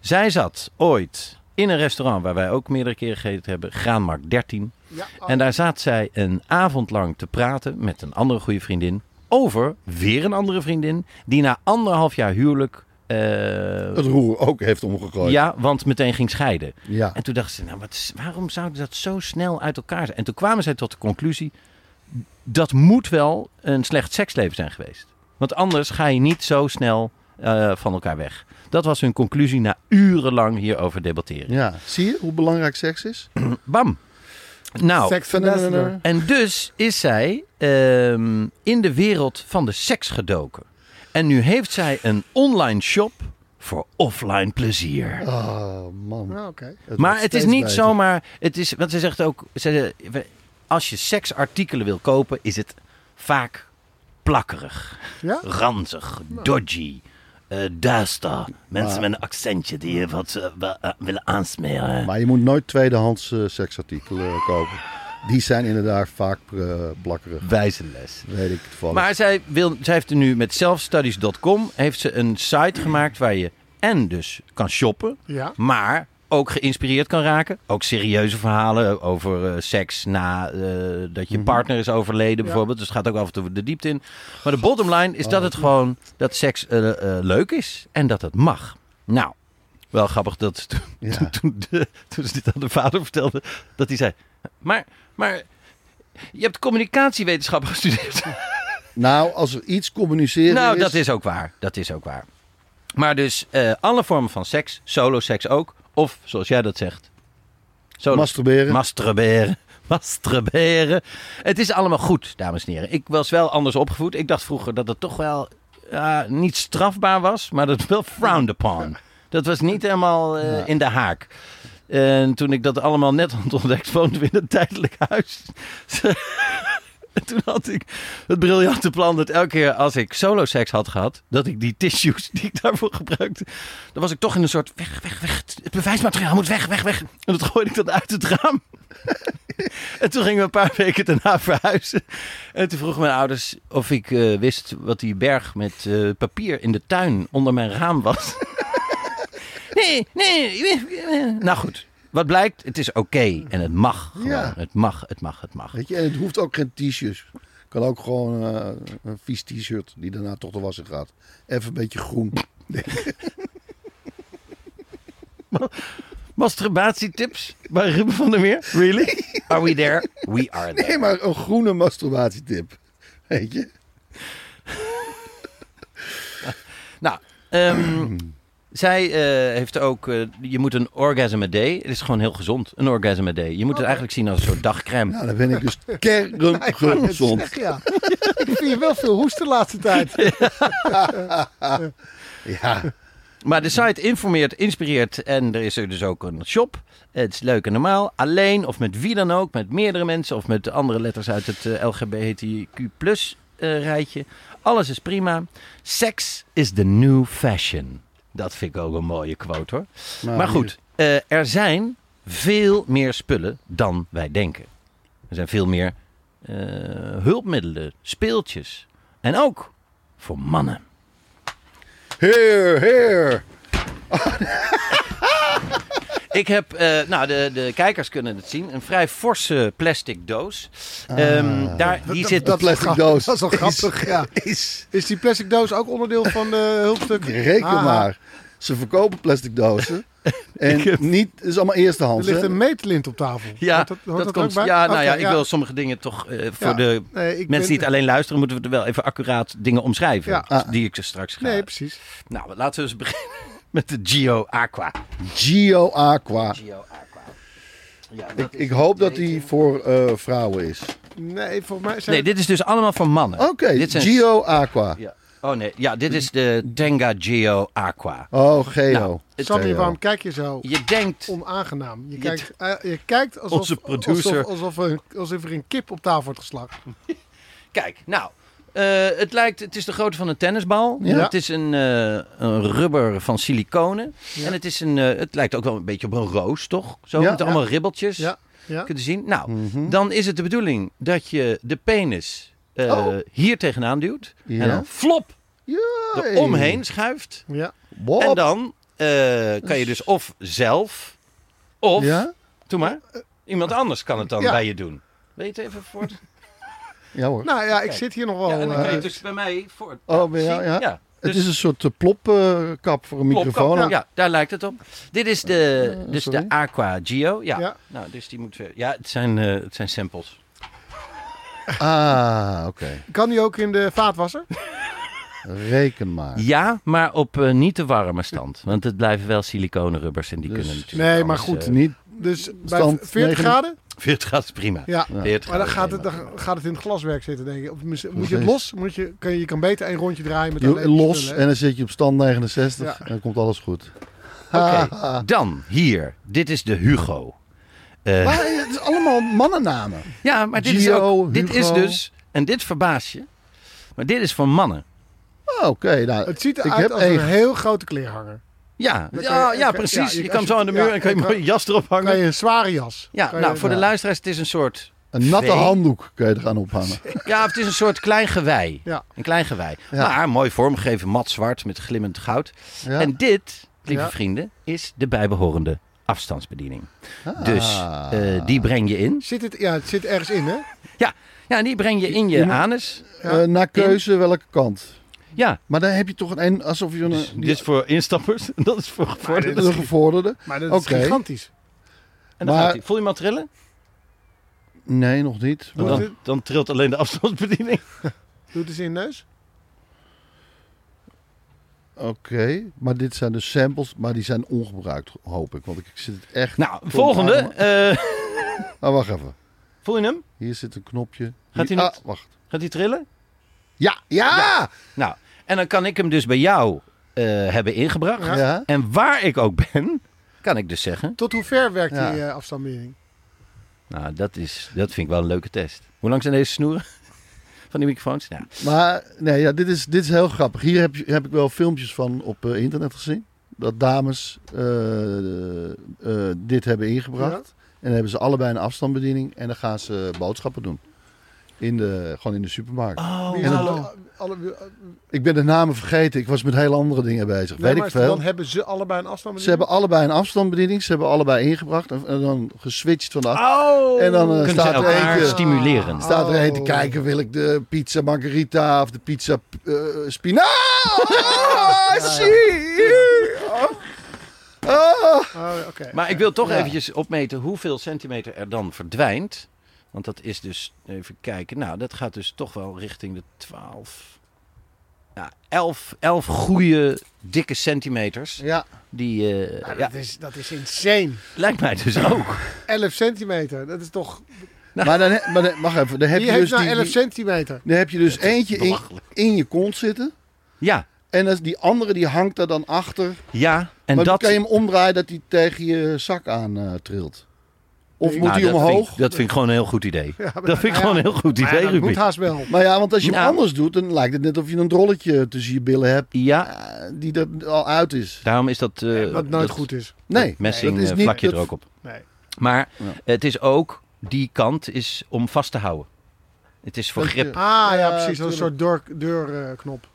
Zij zat ooit in een restaurant waar wij ook meerdere keren gegeten hebben, Graanmarkt 13. Ja, En daar zat zij een avond lang te praten met een andere goede vriendin. Over weer een andere vriendin. Die na anderhalf jaar huwelijk. eh, Het roer ook heeft omgegooid. ja, want meteen ging scheiden. Ja. En toen dachten ze, nou, wat, is- waarom zouden dat zo snel uit elkaar zijn? En toen kwamen zij tot de conclusie. Dat moet wel een slecht seksleven zijn geweest. Want anders ga je niet zo snel eh, van elkaar weg. Dat was hun conclusie na urenlang hierover debatteren. ja. Zie je hoe belangrijk seks is? Bam! Nou, Sex Ambassador. En dus is zij ehm, in de wereld van de seks gedoken. En nu heeft zij een online shop voor offline plezier. Oh, man. Ja, Ah, oké. wordt maar het is steeds niet beter. zomaar. Het is, want ze zegt ook: ze, als je seksartikelen wil kopen, is het vaak plakkerig, Ja? ranzig, dodgy. eh duister. Maar- Mensen met een accentje die je wat eh, wa- eh, willen aansmeren. Maar je moet nooit tweedehands eh, seksartikelen kopen. Die zijn inderdaad vaak eh, plakkerig. Wijze les. Weet ik toevallig. Maar zij, wil, zij heeft er nu met selfstudies.com heeft ze een site gemaakt waar je en dus kan shoppen, Ja. maar ook geïnspireerd kan raken. Ook serieuze verhalen over eh, seks na eh, dat je partner is overleden bijvoorbeeld. Dus het gaat ook af en toe de diepte in. Maar de bottom line is dat het gewoon dat seks eh, eh, leuk is en dat het mag. Nou, wel grappig dat toen, Ja. toen, toen de- toen ze dit aan de vader vertelde, dat hij zei... Maar, maar je hebt communicatiewetenschap gestudeerd. Nou, als er iets communiceren Nou, is... dat is ook waar. Dat is ook waar. Maar dus eh, alle vormen van seks, solo seks ook, of zoals jij dat zegt, solo Masturberen. masturberen. Masturberen. Het is allemaal goed, dames en heren. Ik was wel anders opgevoed. Ik dacht vroeger dat het toch wel ja, niet strafbaar was, maar dat het wel frowned upon. Dat was niet helemaal eh, in de haak. En toen ik dat allemaal net had ontdekt, woonden we in een tijdelijk huis. En toen had ik het briljante plan dat elke keer als ik solo seks had gehad, dat ik die tissues die ik daarvoor gebruikte, dan was ik toch in een soort weg, weg, weg. Het bewijsmateriaal moet weg, weg, weg. En dat gooide ik dat uit het raam. en toen gingen we een paar weken daarna verhuizen. En toen vroegen mijn ouders of ik eh, wist wat die berg met eh, papier in de tuin onder mijn raam was. nee, nee. eh, Nou goed. Wat blijkt, het is oké en het mag gewoon. Ja. Het mag, het mag, het mag. Weet je, en het hoeft ook geen t-shirts. Kan ook gewoon eh, een vies t-shirt die daarna toch de wasser gaat. Even een beetje groen. Masturbatietips bij Ruben van der Meer? Really? Are we there? We are there. Nee, maar een groene masturbatietip. Weet je? Nou, ehm, zij eh, heeft ook... eh, je moet een orgasm a day. Het is gewoon heel gezond, een orgasm a day. Je moet het eigenlijk zien als een soort dagcrème. Nou, dan ben ik dus kerngezond. Zeg, ja. Ik vind je wel veel hoest de laatste tijd. Ja, Maar de site informeert, inspireert en er is er dus ook een shop. Het is leuk en normaal. Alleen of met wie dan ook, met meerdere mensen of met andere letters uit het eh, LGBTQ plus eh, rijtje. Alles is prima. Sex is the new fashion. Dat vind ik ook een mooie quote hoor. Nou, maar goed, eh, er zijn veel meer spullen dan wij denken. Er zijn veel meer eh, hulpmiddelen, speeltjes. En ook voor mannen. heer, heer. Ik heb, eh, nou, de, de kijkers kunnen het zien, een vrij forse plastic doos. Ehm, daar, die zit dat plastic doos. Ah. Dat is wel grappig, Is, ja. is- Is die plastic doos ook onderdeel van de hulpstukken? reken Ah, maar. Ze verkopen plastic dozen. En niet, het is allemaal Er eerstehands. ligt hè? een meetlint op tafel. Ja, Hoort dat, hoort ook komt. bij? Ja, nou Oké, ja, ik wil sommige dingen toch eh, voor Ja. de Nee, ik mensen ben- die het alleen luisteren, moeten we er wel even accuraat dingen omschrijven. Ja. Dus Die ik ze straks ga. Nee, precies. nou, laten we eens beginnen met de Geo Aqua. Geo Aqua. Geo Aqua. Ja, dat Ik, is- ik hoop dat die voor eh, vrouwen is. Nee, volgens mij zijn Nee, dit is dus allemaal van mannen. Oké, Dit zijn- Geo Aqua. Ja. Oh nee, ja, dit is de Tenga Geo Aqua. Oh, Geo. Nou, het- Sammy, Theo. waarom kijk je zo Je denkt, onaangenaam? Je Je- kijkt, eh, je kijkt alsof, Onze producer. alsof, alsof, er- alsof er een kip op tafel wordt geslagen. kijk, nou, eh, het lijkt, het is de grootte van een tennisbal. Ja. Het is een, eh, een rubber van siliconen. En het, is een, eh, het lijkt ook wel een beetje op een roos, toch? Zo, Ja. met Ja. Mhm. allemaal ribbeltjes. Ja, ja. kunnen zien. Nou, dan is het de bedoeling dat je de penis eh, Oh. hier tegenaan duwt. Ja. En dan flop Jee. er omheen schuift. ja. Bob. En dan eh, kan je dus of zelf, of, Ja? doe maar, iemand anders kan het dan Ja. bij je doen. Weet je even voor? Ja hoor. Nou ja, ik zit hier nog wel. ja, en dan kan je eh, dus bij mij voor. Oh, ben je- Zie- ja. dus het is een soort eh, plopkap voor een plopkap. microfoon. Ja. daar lijkt het op. Dit is de, dus de sorry. Aqua Geo. Ja. Eh, Ja. Nou, dus die moet. weer- Ja, het zijn, eh, het zijn samples. Ah, oké. Kan die ook in de vaatwasser? Reken maar. Ja, maar op eh, niet te warme stand. Want het blijven wel siliconenrubbers en die Dus- kunnen natuurlijk... Nee, maar anders, goed, eh, Niet, Dus bij Stand 40 negen- graden? 40 graden is prima. Ja. 40 Maar graden dan gaat is het, dan gaat het in het glaswerk zitten, denk ik. Of mis- moet je Nog het eens. los? Moet je, kan, je je kan beter één rondje draaien met je- alleen los spullen, en hè? dan zit je op stand 69 Ja. en dan komt alles goed. prima. Oké, dan hier. Dit is de Hugo. Eh, Maar het is allemaal mannennamen. ja, maar dit, is, Gio, ook, dit Hugo. is dus... En dit verbaas je. Maar dit is van mannen. Oh, Oké, nou, Het ziet ik eruit heb als één. een heel grote kleerhanger. Ja, Dan kan ja, je- dan ja kan- ja, precies. je- je als kan je- zo aan de muur ja, en kan je je mooi kan- je jas erop Dan kan hangen. je een zware jas. Ja, Kan nou, je- voor de ja. luisteraars, het is een soort... Een natte vee. handdoek kun je er gaan ophangen. Ja, het is een soort klein gewei. Ja. Een klein gewei. Maar mooi vormgegeven, mat zwart met glimmend goud. Ja. En dit, lieve Ja. vrienden, is de bijbehorende afstandsbediening. Ah. Dus eh, die breng je in. Zit het, ja, het zit ergens in, hè? Ja, ja en die breng je in je Je moet- anus. Ja. Eh, naar keuze welke kant. Ja, Maar dan heb je toch een, alsof je een, dus die- dit is voor instappers en dat is voor een gevorderden. gevorderde. Maar dat Oké. is gigantisch. En dan maar- gaat hij. Voel je hem al trillen? Nee, nog niet. Dan, Wordt dan, dan trilt alleen de afstandsbediening. Doet het in je neus? Oké, maar dit zijn dus samples, maar die zijn ongebruikt, hoop ik. Want ik zit het echt... Nou, volgende. eh, Ah, wacht even. voel je hem? Hier zit een knopje. Gaat Hier- hij niet- Ah, wacht. Gaat hij trillen? Ja, ja! Nou, en dan kan ik hem dus bij jou eh, hebben ingebracht. Ja. En waar ik ook ben, kan ik dus zeggen. Tot hoe ver werkt Ja. die eh, afstandsbediening? Nou, dat, is, dat vind ik wel een leuke test. Hoe lang zijn deze snoeren? Van die microfoons? Nou, Maar nee, ja, dit, is, dit is heel grappig. Hier heb, je- heb ik wel filmpjes van op eh, internet gezien. Dat dames eh, eh, dit hebben ingebracht. En dan hebben ze allebei een afstandsbediening. En dan gaan ze boodschappen doen. In de, gewoon in de supermarkt. Oh, Wie en zou dan- dat- alle- alle- Ik ben de namen vergeten. Ik was met heel andere dingen bezig. nee, Weet maar ik veel. Dan hebben ze allebei een Ze afstandsbediening. hebben allebei een afstandsbediening. Ze hebben allebei ingebracht. En, en dan geswitcht van de af- Oh! En dan, eh, Kunnen ze staat er elkaar eentje- stimuleren. Staat er een te Oh. kijken, wil ik de pizza margarita of de pizza eh spina? Ah, zie! Ah. Oh, oké. Maar ik wil toch Ja. eventjes opmeten hoeveel centimeter er dan verdwijnt. Want dat is dus, even kijken, nou dat gaat dus toch wel richting de 12. Ja, 11, 11 goede, dikke centimeters. Ja, Die, eh, Nou, ja, dat, is, dat is insane. lijkt mij dus ook. 11 centimeter, dat is toch... maar dan, he- maar dan, wacht even, dan heb Wie je heeft dus, nou die- 11 die- centimeter? dan heb je dus eentje in, belachelijk. in je kont zitten. Ja, En als die andere die hangt daar dan achter. ja. En maar dan dat... kan je hem omdraaien dat hij tegen je zak aan eh, trilt. Of Nee. moet Nou, hij dat omhoog? Vind ik, dat vind ik gewoon een heel goed idee. Ja, maar- dat vind ik ja. gewoon een heel goed idee, Ja, dat Ruben. moet haast wel. Maar ja, want als je hem Nou. anders doet, dan lijkt het net of je een drolletje tussen je billen hebt. Ja, eh, die er al uit is. daarom is dat... eh, Wat nooit dat- goed is. Nee, dat messing dat is eh, niet- vlak je dat- er ook op. Nee. Maar Ja. het is ook, die kant is om vast te houden. Het is voor Dat je- grip. Ah, ja, Ja, precies. Dat is een tuurlijk. soort deur- deurknop.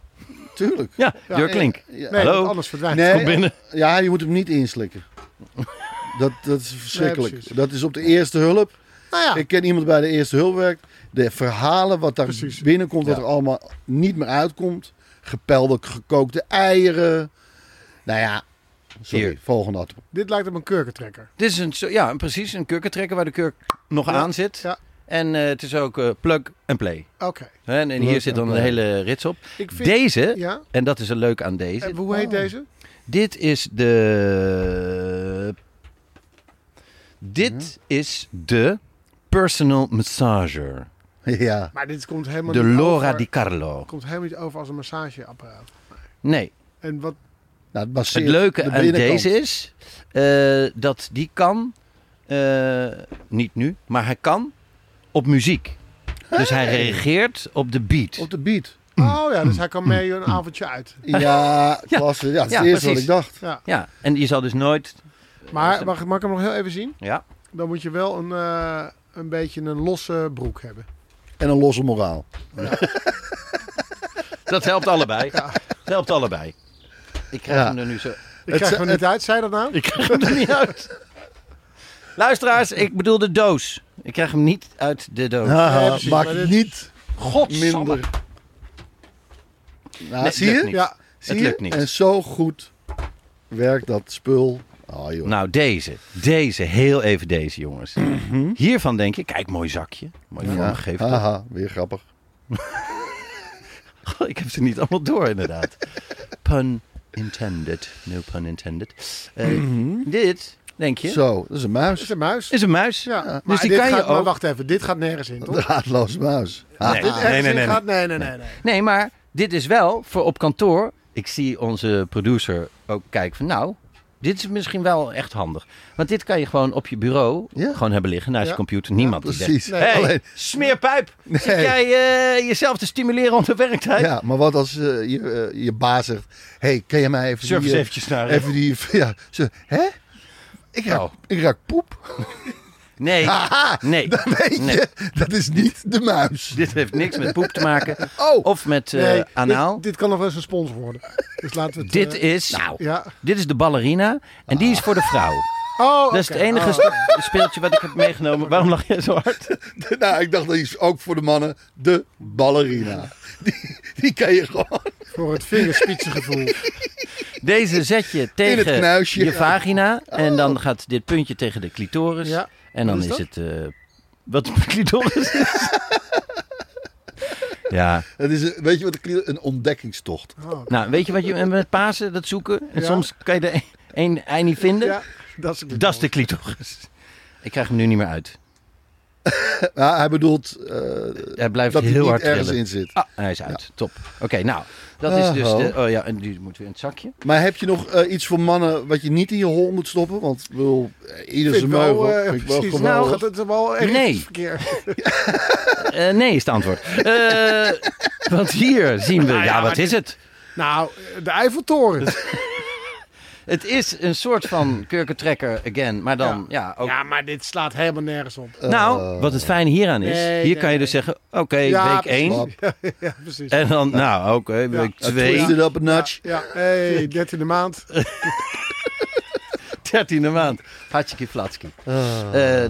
Tuurlijk. Ja, Ja, deurklink. Ja, nee, Hallo? want anders verdwijnt Nee, het. Kom binnen. ja, je moet hem niet inslikken. Dat, dat is verschrikkelijk. precies. dat is op de eerste hulp. Nou ja, Ik ken iemand bij de eerste hulp werkt. De verhalen wat daar Precies. binnenkomt, wat Ja. er allemaal niet meer uitkomt. Gepelde, gekookte eieren. Nou ja, sorry, Hier. volgende auto. dit lijkt op een kurkentrekker. Dit is een, zo- ja, een- precies een kurkentrekker waar de kurk nog Ja, aan zit. ja. En eh, het is ook eh, plug and play. Oké. Hè, En, en hier Plug zit and dan een play. hele rits op. Ik vind... Deze, Ja? en dat is een leuk aan deze. En hoe oh. heet deze? Dit is de. Mhm. Dit is de personal massager. Ja, Maar dit komt helemaal De niet Laura over- Di Carlo. komt helemaal niet over als een massageapparaat. Nee, En wat... nou, het, baseert het leuke de aan binnenkant. deze is eh, dat die kan, eh, niet nu, maar hij kan op muziek. Dus hij reageert op de beat. Op de beat. Oh ja, dus hij kan mee een avondje uit. Ja, klasse. Ja, dat is Ja, het eerste wat precies. ik dacht. Ja. Ja, en je zal dus nooit. Maar mag, mag ik hem nog heel even zien? Ja, Dan moet je wel een, eh, een beetje een losse broek hebben. En een losse moraal. dat helpt allebei. Dat helpt allebei. Ik krijg Ja. hem er nu zo. Ik Het krijg ze- hem niet uit, zei dat nou? Ik krijg hem er niet uit. Luisteraars, ik bedoel de doos. Ik krijg hem niet uit de doos. Haha, Nee, precies, maak maar het dit- niet Godsamme. minder. Nou, Nee, zie je? lukt niet. Ja, Zie Het je? lukt niet. En zo goed werkt dat spul. Ah, joh. Nou, deze. Deze. Heel even deze, jongens. Mhm. Hiervan denk je, kijk, mooi zakje. Mooi vormgegeven. Ah. Haha, weer grappig. Goh, Ik heb ze niet allemaal door, inderdaad. pun intended. No pun intended. Eh, Mhm. Dit, denk je, Zo, dat is een dat is muis. een muis. is een muis. Ja, Dus maar die dit kan gaat, je Maar ook... wacht even, dit gaat nergens in, Een toch? draadloos muis. Nee, Dit nee, ergens nee, in nee. gaat? Nee, nee, nee. nee. Nee, maar dit is wel voor op kantoor. Ik zie onze producer ook kijken van nou, dit is misschien wel echt handig. Want dit kan je gewoon op je bureau Ja. gewoon hebben liggen naast Ja. je computer. Niemand die zegt, Precies. Nee, hey, Alleen, smeerpijp, zit jij eh, jezelf te stimuleren onder werktijd? ja, maar wat als eh, je, eh, je baas zegt... hey, kan je mij even... Surf eens die, eh, eventjes naar... Even die... Ja, ze, hè? Ik raak, Oh. ik raak poep. Nee, Haha, nee. dan weet Nee. je, dat is niet de muis. Dit heeft niks met poep te maken. Oh. Of met eh, Nee, anaal. Dit, dit kan nog wel eens een sponsor worden. Dus laten we het... Dit eh, is, Ja. dit is de ballerina en die is voor de vrouw. Oh, Dat is het enige spe- speeltje wat ik heb meegenomen. Waarom lach jij zo hard? nou, ik dacht dat is ook voor de mannen de ballerina. Die, die kan je gewoon. Voor het vingerspitsengevoel. Deze zet je tegen knuisje. Oh. je vagina. En dan gaat dit puntje tegen de clitoris. Ja. En dan Wat is, is het. eh, wat een clitoris is. ja. Het is, een- weet je wat ik Een ontdekkingstocht. Oh. Nou, weet je wat je en met Pasen dat zoeken? En Ja. soms kan je er één ei niet vinden. Ja, dat is het. Dat is de clitoris. Ik krijg hem nu niet meer uit. Nou, hij bedoelt eh, Hij blijft dat hij heel niet hard ergens trillen. in zit. Ah, hij is uit. Top. Oké, nou. Dat is dus Oh. de... Oh ja, en die moeten we in het zakje. Maar heb je nog eh, iets voor mannen wat je niet in je hol moet stoppen? Want ik bedoel, eh, ieder Vind zijn ik wel, meugel. eh, vind ik wel precies. geweldig. Nou gaat het wel echt Nee. verkeerd. Eh, nee is het antwoord. Eh, want hier zien we... Nou ja, Ja, wat maar is het? Nou, de Eiffeltoren. Dus Het is een soort van kurkentrekker again, maar dan ja, ook. Ja, maar dit slaat helemaal nergens op. Nou, wat het fijne hieraan is, Nee, hier nee, kan je dus nee. zeggen, oké, Ja, week 1. Slap. Ja, precies. En dan, nou, oké, week Ja, twee, Twist it up a notch. Ja, hey, 13e maand. 13e maand. Hartstikke flatski. Eh,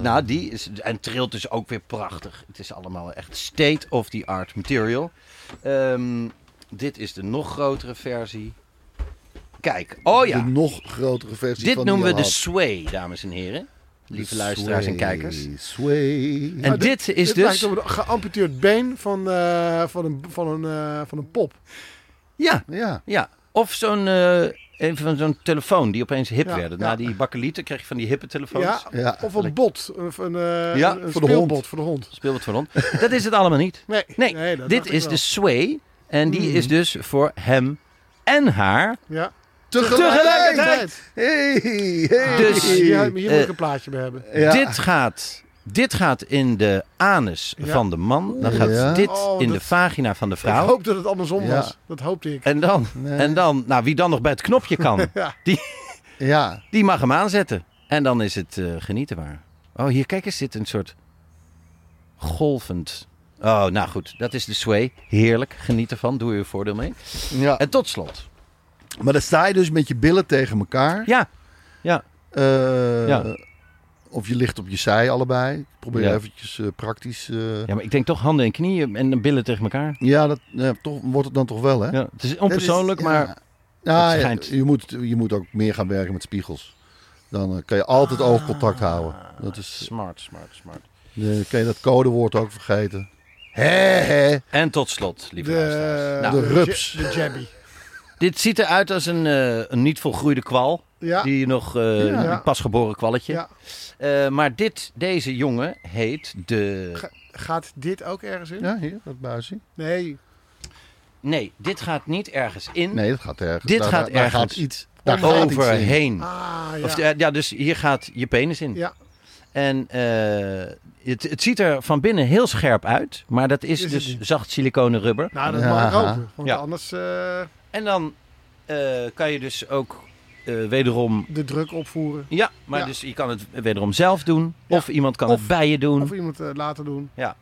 nou, die is, en trilt dus ook weer prachtig. Het is allemaal echt state of the art material. Ehm, dit is de nog grotere versie. Kijk, oh ja, De nog grotere versie dit van die noemen je we de had. sway, dames en heren. Lieve De luisteraars en sway, kijkers. Sway. En dit is dit dus... lijkt op een geamputeerd been van, eh, van, een, van, een, eh, van een pop. Ja, Ja. Ja, of zo'n eh, een van zo'n telefoon die opeens hip Ja, werden. ja. Na die bakkelieten kreeg je van die hippe telefoons. Ja, Ja. of een bot. Of een, eh Ja, een, een voor de speelbot hond. voor de hond. Speel het voor ons. Dat is het allemaal niet. Nee, Nee, dat dit dacht ik is dus wel. Hmm. de Sway. En die is dus voor hem en haar. Ja. Tegelijkertijd. Hey, hey. Dus, Dus, hier hier moet eh, ik een plaatje bij hebben. Ja. Dit, gaat, dit gaat in de anus Ja. van de man. Dan gaat Ja. dit Oh, in dat- de vagina van de Ik vrouw. hoop dat het andersom Ja. was. Dat hoopte ik. En dan, Nee. en dan, nou wie dan nog bij het knopje kan, Ja. die mag hem aanzetten. En dan is het eh, genieten waar. Oh, hier kijk eens, zit een soort golvend. Oh, nou goed, dat is de sway. Heerlijk, geniet ervan, doe er je voordeel mee. ja. En tot slot. Maar dan sta je dus met je billen tegen elkaar. Ja, Eh, Eh, Ja. Of je ligt op je zij allebei. Ik Probeer Ja. eventjes eh, praktisch. eh, ja. Ja, maar ik denk toch handen en knieën en billen tegen elkaar. dat ja, toch, wordt het dan toch wel, hè? Ja, het is onpersoonlijk, Dat is- maar ja. Ja, het ja, schijnt. je, moet, je moet ook meer gaan werken met spiegels. Dan eh, kan je Ah. altijd oogcontact houden. Dat is, smart, smart, smart. dan kan je dat codewoord ook vergeten. Hé, hé. En tot slot, lieve De, luisteraars. de Nou, rups. ja- De jabby. dit ziet eruit als een, eh, een niet volgroeide kwal. Ja. Die nog, eh, Ja. een pasgeboren kwalletje. Ja. Eh, maar dit, deze jongen heet de... Gaat dit ook ergens in? Ja, hier, dat buisje. Nee. Nee, dit gaat niet ergens in. Nee, dat gaat ergens. Dit Daar- gaat Nou, daar ergens gaat iets. Daar Daar gaat iets in. overheen. Ah, ja. Of, eh, ja, dus hier gaat je penis in. ja. En eh, het, het ziet er van binnen heel scherp uit. Maar dat is, Is het dus niet. zacht siliconen rubber. Nou, dat Ja. mag ik open. Want Ja. anders eh, En dan eh, kan je dus ook eh, wederom... de druk opvoeren. Ja, maar Ja. dus je kan het wederom zelf doen. Ja. Of iemand kan Of- het bij je doen. Of iemand eh, laten doen. maar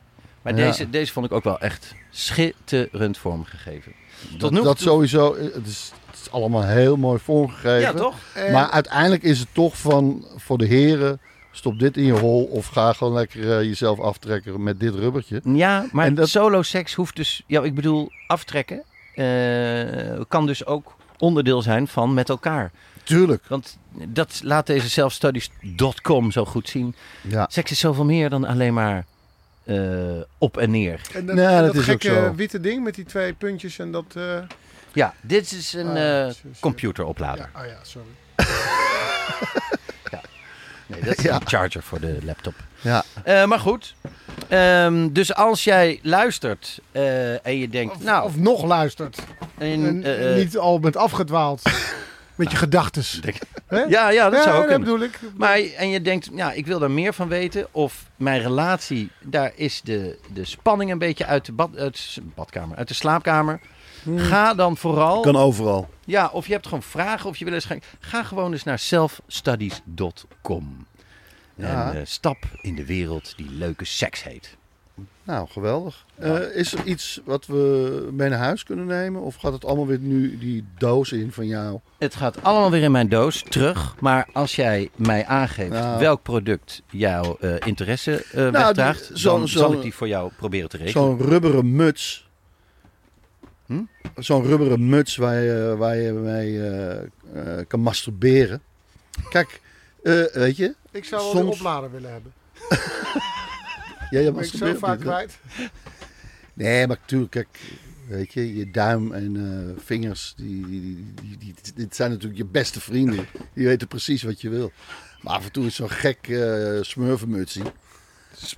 Ja. deze, deze vond ik ook wel echt schitterend vormgegeven. Tot Dat, nu dat toe- sowieso. eh, Het is, het is allemaal heel mooi vormgegeven. Ja, toch? En- Maar uiteindelijk is het toch van voor de heren. Stop dit in je hol of ga gewoon lekker eh, jezelf aftrekken met dit rubbertje. Ja, maar En dat- solo seks hoeft dus... Ja, ik bedoel, aftrekken eh, kan dus ook onderdeel zijn van met elkaar. Tuurlijk. Want dat laat deze selfstudies.com zo goed zien. Ja. Seks is zoveel meer dan alleen maar eh, op en neer. En dat, Nee, en dat is ook gekke zo. witte ding met die twee puntjes en dat... eh, Ja, dit is een ah, eh, shit, shit. computeroplader. Ja, oh ja, sorry. Nee, dat is Ja. een charger voor de laptop. ja. Eh, maar goed. Ehm, dus als jij luistert eh, en je denkt... Of, nou, of nog luistert. en, En eh, eh, niet al bent afgedwaald. met je gedachtes. Hè? ja, ja, dat Ja, zou ook kunnen. bedoel ik. Maar, en je denkt, ja, ik wil daar meer van weten. Of mijn relatie, daar is de, de spanning een beetje uit de, bad, uit de badkamer, uit de slaapkamer. Hmm. Ga dan vooral... Kan overal. Ja, of je hebt gewoon vragen of je wil eens gaan. Ga gewoon eens naar selfstudies.com. Ja. En eh, stap in de wereld die leuke seks heet. Nou, geweldig. Eh, is er iets wat we mee naar huis kunnen nemen? Of gaat het allemaal weer nu die doos in van jou? Het gaat allemaal weer in mijn doos terug. Maar als jij mij aangeeft Nou. welk product jouw eh, interesse eh die- wegdraagt, zo'n- dan zal zo'n- ik die voor jou proberen te regelen. Zo'n rubberen muts. Hm? Zo'n rubberen muts waar je, waar je mee eh, eh, kan masturberen. Kijk, eh, weet je? Ik zou wel een Soms- oplader willen hebben. Jij Dat ben ik zo masturbeert vaak niet, hè? kwijt. Nee, maar natuurlijk, kijk, weet je, je duim en eh, vingers, die, die, die, die, die- dit zijn natuurlijk je beste vrienden. Die weten precies wat je wil. Maar af en toe is zo'n gek eh smurfenmutsie. Is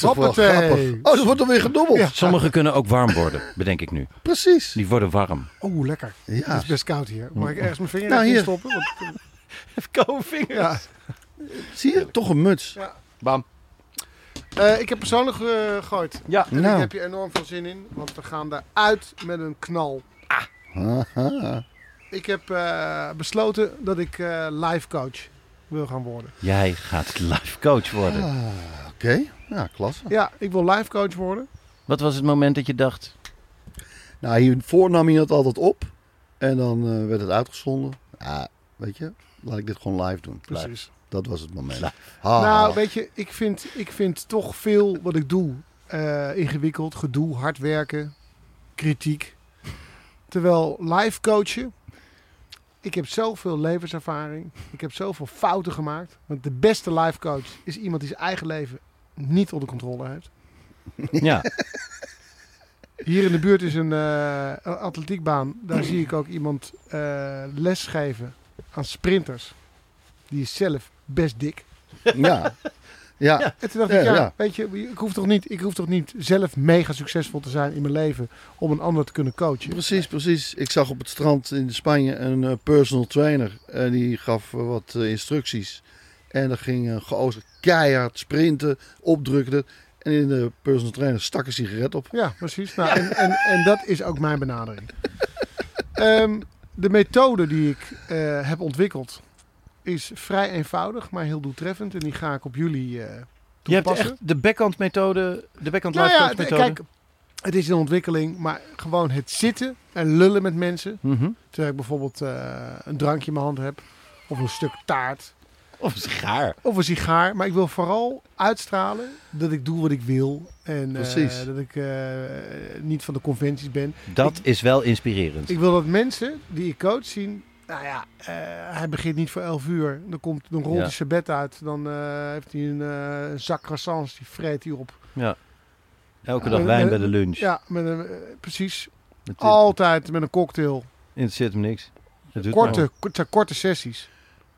toch wel Hoppatee. grappig. Oh, dat wordt dan weer gedobbeld. Ja. Sommige kunnen ook warm worden, bedenk ik nu. Precies. Die worden warm. Oeh, lekker. Het Ja. is best koud hier. Mag ik ergens mijn vinger Nou, in hier. stoppen? Want, eh, Koude vinger. ja. Zie je? Toch een muts. Ja. Bam. Eh, ik heb persoonlijk eh gegooid. Ja. En Nou. ik heb je enorm veel zin in, want we gaan daaruit met een knal. Haha. Ik heb eh, besloten dat ik eh life coach wil gaan worden. Jij gaat life coach worden. Oké, ja, Oh. klasse. Ja, ik wil life coach worden. Wat was het moment dat je dacht? Nou, hiervoor nam je dat altijd op. En dan eh, werd het uitgezonden. Ja, weet je, laat ik dit gewoon live doen. Precies. Dat was het moment. Ha. Nou, weet je, ik vind, ik vind toch veel wat ik doe eh, ingewikkeld. Gedoe, hard werken, kritiek. Terwijl life coachen. Ik heb zoveel levenservaring. Ik heb zoveel fouten gemaakt. Want de beste life coach is iemand die zijn eigen leven niet onder controle heeft. Ja. Hier in de buurt is een eh, een atletiekbaan. Daar zie ik ook iemand eh lesgeven aan sprinters. Die is zelf best dik. Ja. Ja. En toen dacht Ja, ik, ja, ja. weet je, ik hoef, toch niet, ik hoef toch niet zelf mega succesvol te zijn in mijn leven om een ander te kunnen coachen. Precies, precies. Ik zag op het strand in Spanje een eh, personal trainer. En die gaf eh, wat eh, instructies. En dat ging eh geozen keihard sprinten, opdrukte. En in de personal trainer stak een sigaret op. Ja, precies. Nou, en, en, en dat is ook mijn benadering. Ehm, de methode die ik eh, heb ontwikkeld is vrij eenvoudig, maar heel doeltreffend. En die ga ik op jullie eh Je hebt toepassen. echt de backhand methode, de backhand Nou life ja, coach d- methode. kijk, het is een ontwikkeling, maar gewoon het zitten en lullen met mensen. Mhm. Terwijl ik bijvoorbeeld eh, een drankje in mijn hand heb. Of een stuk taart. Of een schaar. Of een sigaar. Maar ik wil vooral uitstralen dat ik doe wat ik wil. En eh, Precies. dat ik eh, niet van de conventies ben. Dat is wel inspirerend. Ik wil dat mensen die ik coach zien. Nou ja, eh, hij begint niet voor 11 uur. Dan, komt, dan rolt Ja. hij zijn bed uit. Dan eh, heeft hij een eh, een zak croissants. Die vreet hij op. ja. Elke Ja, dag maar- wijn maar- bij de lunch. Eh, Ja, met een, eh, precies. Het, Altijd met een cocktail. interesseert hem niks. Het nou. doet maar. Korte, het zijn korte sessies.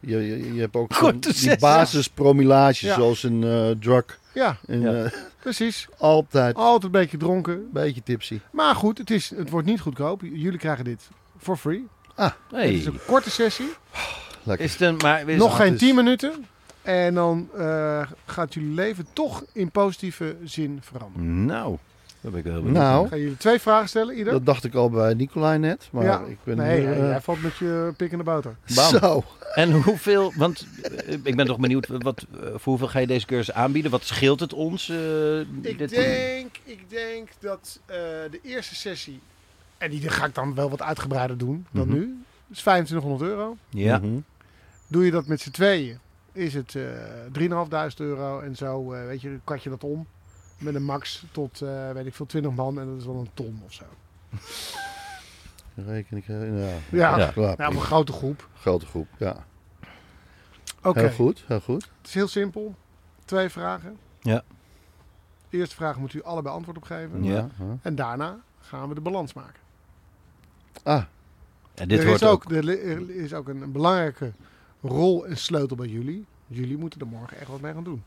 Je, je, je hebt ook Goed, gewoon die zes. basispromillage, Ja. zoals een eh, drug. Ja, Oh. En, Ja. eh, precies. altijd Altijd een beetje dronken. een beetje tipsy. Maar goed, het, is, het wordt niet goedkoop. J- Jullie krijgen dit for free. Hey. Het is een korte sessie. Lekker. Is het een, maar is- Nog het dus- geen is- 10 minuten. En dan eh, gaat jullie leven toch in positieve zin veranderen. Nou, dat ben ik wel heel benieuwd. Ik Nou, ga jullie twee vragen stellen, ieder. dat dacht ik al bij Nicolai net. Maar Ja. ik ben nee, nu, jij- eh, jij valt met je pik in de boter. Bam. Zo. En hoeveel, want eh, ik ben toch benieuwd, wat, eh, voor hoeveel ga je deze cursus aanbieden? Wat scheelt het ons? eh, Ik dit- denk, ik denk dat eh, de eerste sessie, en die ga ik dan wel wat uitgebreider doen dan Mhm. nu, is 2500 euro. Ja, Mhm. Doe je dat met z'n tweeën, is het eh 3.500 euro en zo, eh, weet je, dan kat je dat om. Met een max tot, eh, weet ik veel, 20 man en dat is dan een ton of zo. Reken ik. eh, Ja. Ja, Ja. Ja, Nou, op een grote groep. grote groep. Ja. Oké, Heel goed, heel goed. het is heel simpel. Twee vragen. Ja. De eerste vraag moet u allebei antwoord op geven. Ja. huh. En daarna gaan we de balans maken. Ah, en dit er, wordt is ook. ook, er li- er is ook een, een belangrijke rol en sleutel bij jullie. Jullie moeten er morgen echt wat mee gaan doen.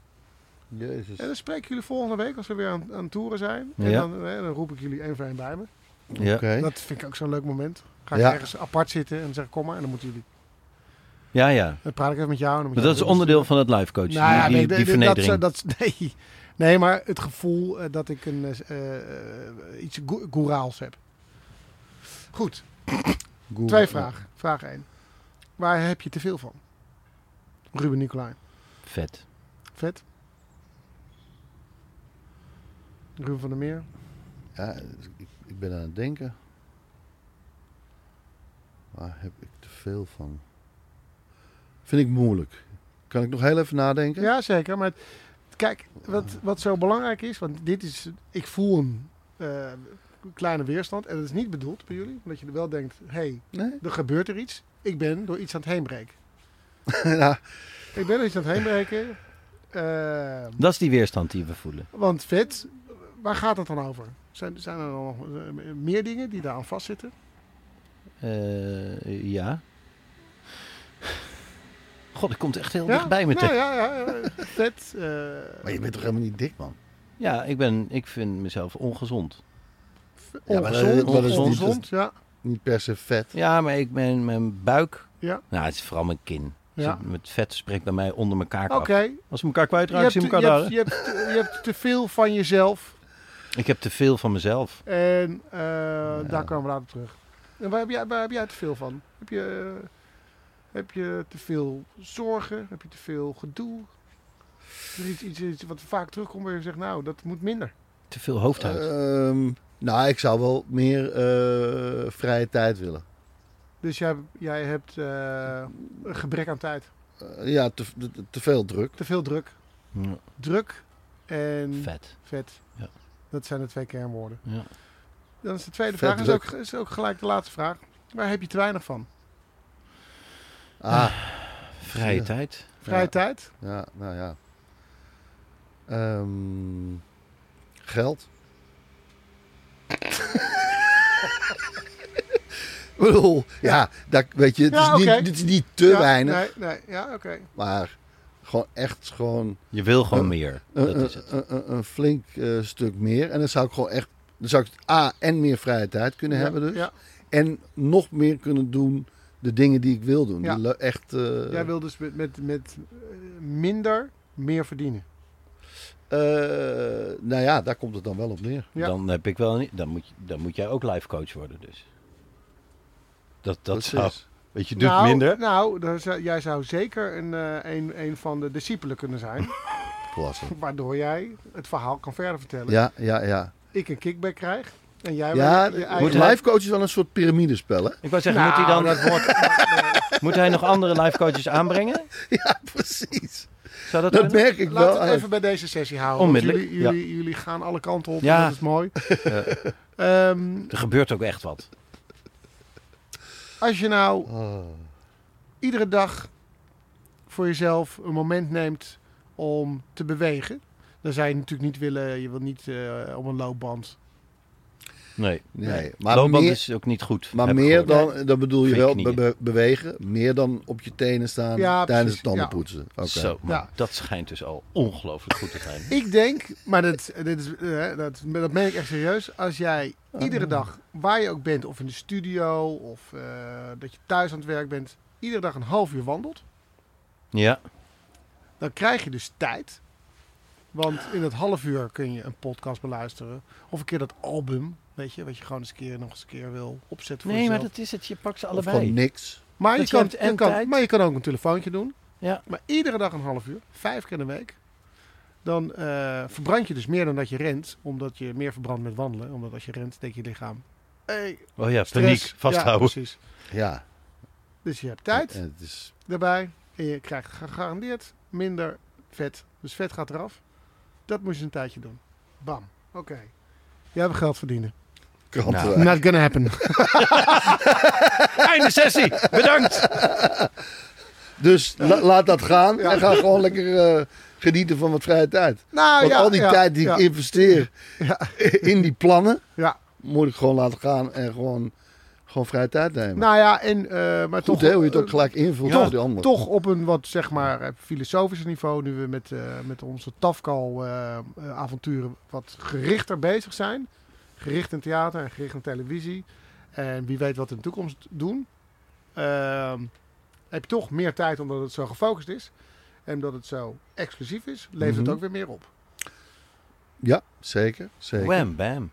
jezus. En dan spreken jullie volgende week als we weer aan, aan toeren zijn. En Ja. dan, eh, dan roep ik jullie één voor één bij me. Ja. Oké. Dat vind ik ook zo'n leuk moment. Ga ik Ja. ergens apart zitten en dan zeg ik kom maar. En dan moeten jullie. Ja, ja. Dan praat ik even met jou. En dan moet Maar jij dat is weer iets onderdeel van het live coach. doen. Nou ja, die, die, nee, die nee, vernedering. Dat, dat, nee. nee, maar het gevoel eh, dat ik een, eh, eh, iets go- goeraals heb. Goed, Google. twee vragen. Vraag 1. Waar heb je te veel van? Ruben Nicolai. Vet. Vet. Ruben van der Meer. Ja, ik, ik ben aan het denken. Waar heb ik te veel van? Vind ik moeilijk. Kan ik nog heel even nadenken? Ja, zeker. Maar het- kijk, wat, Ah. wat zo belangrijk is, want dit is, ik voel een eh, kleine weerstand. En dat is niet bedoeld bij jullie, omdat je er wel denkt, hé, hey, Nee? er gebeurt er iets. Ik ben door iets aan het heenbreken. ja. Ik ben door iets aan het heenbreken. Eh, Dat is die weerstand die we voelen. want vet, waar gaat het dan over? Zijn, zijn er dan nog eh, meer dingen die daaraan vastzitten? Eh, ja. God, ik komt echt heel Ja? dichtbij meteen. Ja, ja, ja. ja. Vet. eh, Maar je bent toch helemaal niet dik, man? Ja, ik, ben, ik vind mezelf ongezond. Ja, maar dat- ongezond. dat is niet- ongezond, ja. Niet per se vet. Ja, maar ik ben mijn buik. Ja. Nou, het is vooral mijn kin. Ja. Dus het vet spreekt bij mij onder elkaar Oké, af. Als we elkaar kwijtraken, zien je, we hebt, elkaar je, daar. hebt, je, hebt, je hebt te veel van jezelf. hè? Ik heb te veel van mezelf. En eh, daar komen we later op terug. En waar heb jij, waar heb jij te veel van? Heb je, eh, heb je te veel zorgen? Heb je te veel gedoe? Is er iets, iets, iets wat vaak terugkomt waar je zegt, nou, dat moet minder. Te veel hoofdhuid. Eh, Ehm, nou, ik zou wel meer eh, vrije tijd willen. Dus jij, jij hebt eh, een gebrek aan tijd. Eh, ja, te, te, te veel druk. Te veel druk. Ja, Druk en vet. vet. Ja. Dat zijn de twee kernwoorden. Ja. Dan is de tweede Vet, vraag, is ook, is ook gelijk de laatste vraag. Waar heb je te weinig van? Ah, Vrije Ja. tijd. Vrije Ja. tijd? ja, nou ja. Ehm, geld. ik bedoel, ja, dat, weet je, het Ja, is, oké. niet, dit is niet te Ja, weinig, Nee, nee, ja, oké. maar gewoon echt gewoon Je wil gewoon Eh, meer. een, dat is het. een- een- een flink eh, stuk meer. En dan zou ik gewoon echt, dan zou ik A, en meer vrije tijd kunnen Ja, hebben dus. ja. En nog meer kunnen doen de dingen die ik wil doen. Ja. Die le- echt, eh, Jij wil dus met, met, met eh, minder meer verdienen. eh, nou ja, daar komt het dan wel op neer. Ja. Dan, heb ik wel een- dan, moet, je- dan moet jij ook life coach worden dus. Dat, dat Precies. zou... Weet je, doet nou, minder. Nou, daar zou- jij zou zeker een, eh, een, een van de discipelen kunnen zijn. Klasse. waardoor jij het verhaal kan verder vertellen. Ja, ja, ja. Ik een kickback krijg. En jij Ja, je de- eigen- moet hij- life coach is wel een soort piramidespel, hè? Ik wou zeggen, Nou, moet hij dan... dat wordt- Moet hij nog andere life coaches aanbrengen? Ja, precies. Zou dat, Dat kunnen? merk ik Laten we wel. het uit. even bij deze sessie houden. want Onmiddellijk, Jullie, jullie, jullie gaan alle kanten op. Ja. Dat is mooi. Ja. Ehm, Eh, Er gebeurt ook echt wat. als je nou Ah. iedere dag voor jezelf een moment neemt om te bewegen. Dan zou je natuurlijk niet willen, je wilt niet eh, op een loopband. Nee. Nee, maar Maar meer, is ook niet goed. maar heb ik meer gehoord. dan, dat bedoel je Voor je wel, knieën. be- bewegen. Meer dan op je tenen staan tijdens Ja, precies, het tanden ja. poetsen. Oké. Zo, maar Ja. dat schijnt dus al ongelooflijk goed te zijn. Ik denk, maar dat, dit is, eh, dat, dat meen ik echt serieus. Als jij iedere dag, waar je ook bent, of in de studio, of eh, dat je thuis aan het werk bent, iedere dag een half uur wandelt, Ja, dan krijg je dus tijd. Want in dat half uur kun je een podcast beluisteren. Of een keer dat album, weet je, wat je gewoon eens een keer nog eens een keer wil opzetten voor nee, maar jezelf. dat is het. Je pakt ze Of gewoon allebei. niks. Maar je, Dat je kan, hebt en je kan- tijd. maar je kan ook een telefoontje doen. Ja. Maar iedere dag een half uur, vijf keer in de week. Dan eh, verbrand je dus meer dan dat je rent. Omdat je meer verbrandt met wandelen. Omdat als je rent, denkt je lichaam... Hey, Oh ja, stress. paniek, Ja, vasthouden. precies. Ja. Dus je hebt tijd En het is, daarbij. En je krijgt gegarandeerd minder vet. Dus vet gaat eraf. Dat moet je een tijdje doen. Bam. Oké. Jij hebt geld verdienen. kan Nou. wel. Not gonna happen. Einde sessie, bedankt. Dus la- laat dat gaan en ga gewoon lekker eh, genieten van wat vrije tijd. Nou, Want ja, al die ja, tijd die ja, ik investeer in die plannen, Ja. moet ik gewoon laten gaan en gewoon, gewoon vrije tijd nemen. Nou ja, en... eh, maar Goed toch, hè, hoe je het ook eh, gelijk invult Ja, voor die ander. toch op een wat zeg maar eh, filosofischer niveau, nu we met, eh, met onze Tafkal-avonturen wat gerichter bezig zijn. Gericht in theater en gericht in televisie. En wie weet wat we in de toekomst doen. Ehm, heb je toch meer tijd omdat het zo gefocust is. En omdat het zo exclusief is, levert Mhm. het ook weer meer op. Ja, zeker. zeker. Wham, bam.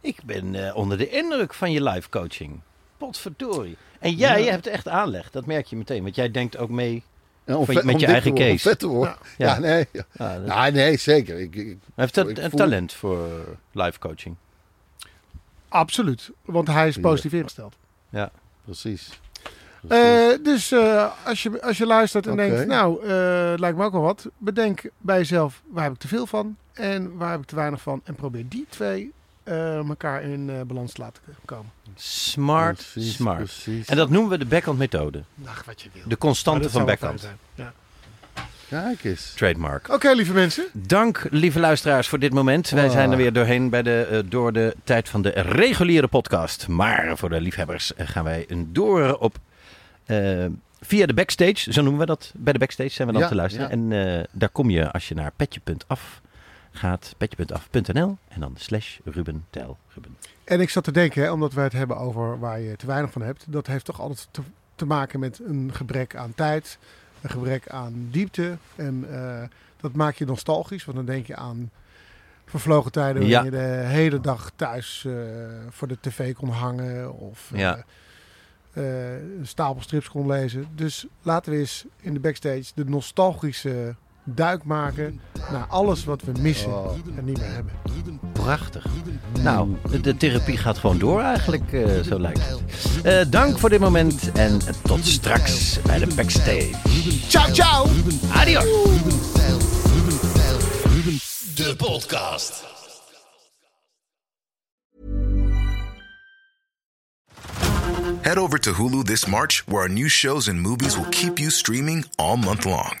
Ik ben eh, onder de indruk van je life coaching. Potverdorie. En jij Ja. hebt echt aanleg, dat merk je meteen. Want jij denkt ook mee. En om Van- vet- met om je dik eigen te worden, om case. vet te worden. Ja, Ja. nee. Ja. Ah, dat- Nou, nee, zeker. Ik, ik, Hij heeft een, ik een voel- talent voor life coaching. Absoluut, want hij is positief ingesteld. precies. Precies. Eh, dus eh, als, je, als je luistert en Oké. denkt, nou, eh, lijkt me ook wel wat. Bedenk bij jezelf, waar heb ik te veel van en waar heb ik te weinig van. En probeer die twee eh, elkaar in eh, balans te laten komen. Smart, Precies, smart. Precies. En dat noemen we de backhand methode. Ach, wat je wil. De constante van backhand. Ja. Kijk eens. Trademark. Oké, lieve mensen. Dank, lieve luisteraars, voor dit moment. Wij Ah. zijn er weer doorheen bij de, eh, door de tijd van de reguliere podcast. Maar voor de liefhebbers eh, gaan wij een door op eh, via de backstage. Zo noemen we dat. Bij de backstage zijn we dan Ja, te luisteren. ja. En eh, daar kom je als je naar petje.af gaat. Petje.af.nl en dan slash Ruben Tel Ruben. En ik zat te denken, hè, omdat wij het hebben over waar je te weinig van hebt. Dat heeft toch altijd te, te maken met een gebrek aan tijd, een gebrek aan diepte. En eh, dat maakt je nostalgisch, want dan denk je aan vervlogen tijden Ja. waarin je de hele dag thuis eh, voor de tv kon hangen. Of eh, Ja. eh, een stapel strips kon lezen. Dus laten we eens in de backstage de nostalgische duik maken naar alles wat we missen Oh. en niet meer hebben. Prachtig. Ruben Nou, de therapie gaat gewoon door eigenlijk, eh, zo lijkt het. Eh, dank voor dit moment en tot straks bij de backstage. Ciao, ciao! Adios! Ruben Tijl, Ruben Tijl, Ruben De podcast. Head over to Hulu this March, where our new shows and movies will keep you streaming all month long.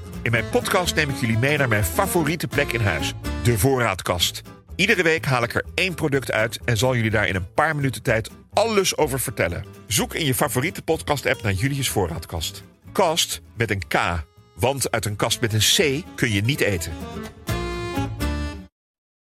In mijn podcast neem ik jullie mee naar mijn favoriete plek in huis, de voorraadkast. Iedere week haal ik er één product uit en zal jullie daar in een paar minuten tijd alles over vertellen. Zoek in je favoriete podcast-app naar Julius Voorraadkast. Kast met een K, want uit een kast met een C kun je niet eten.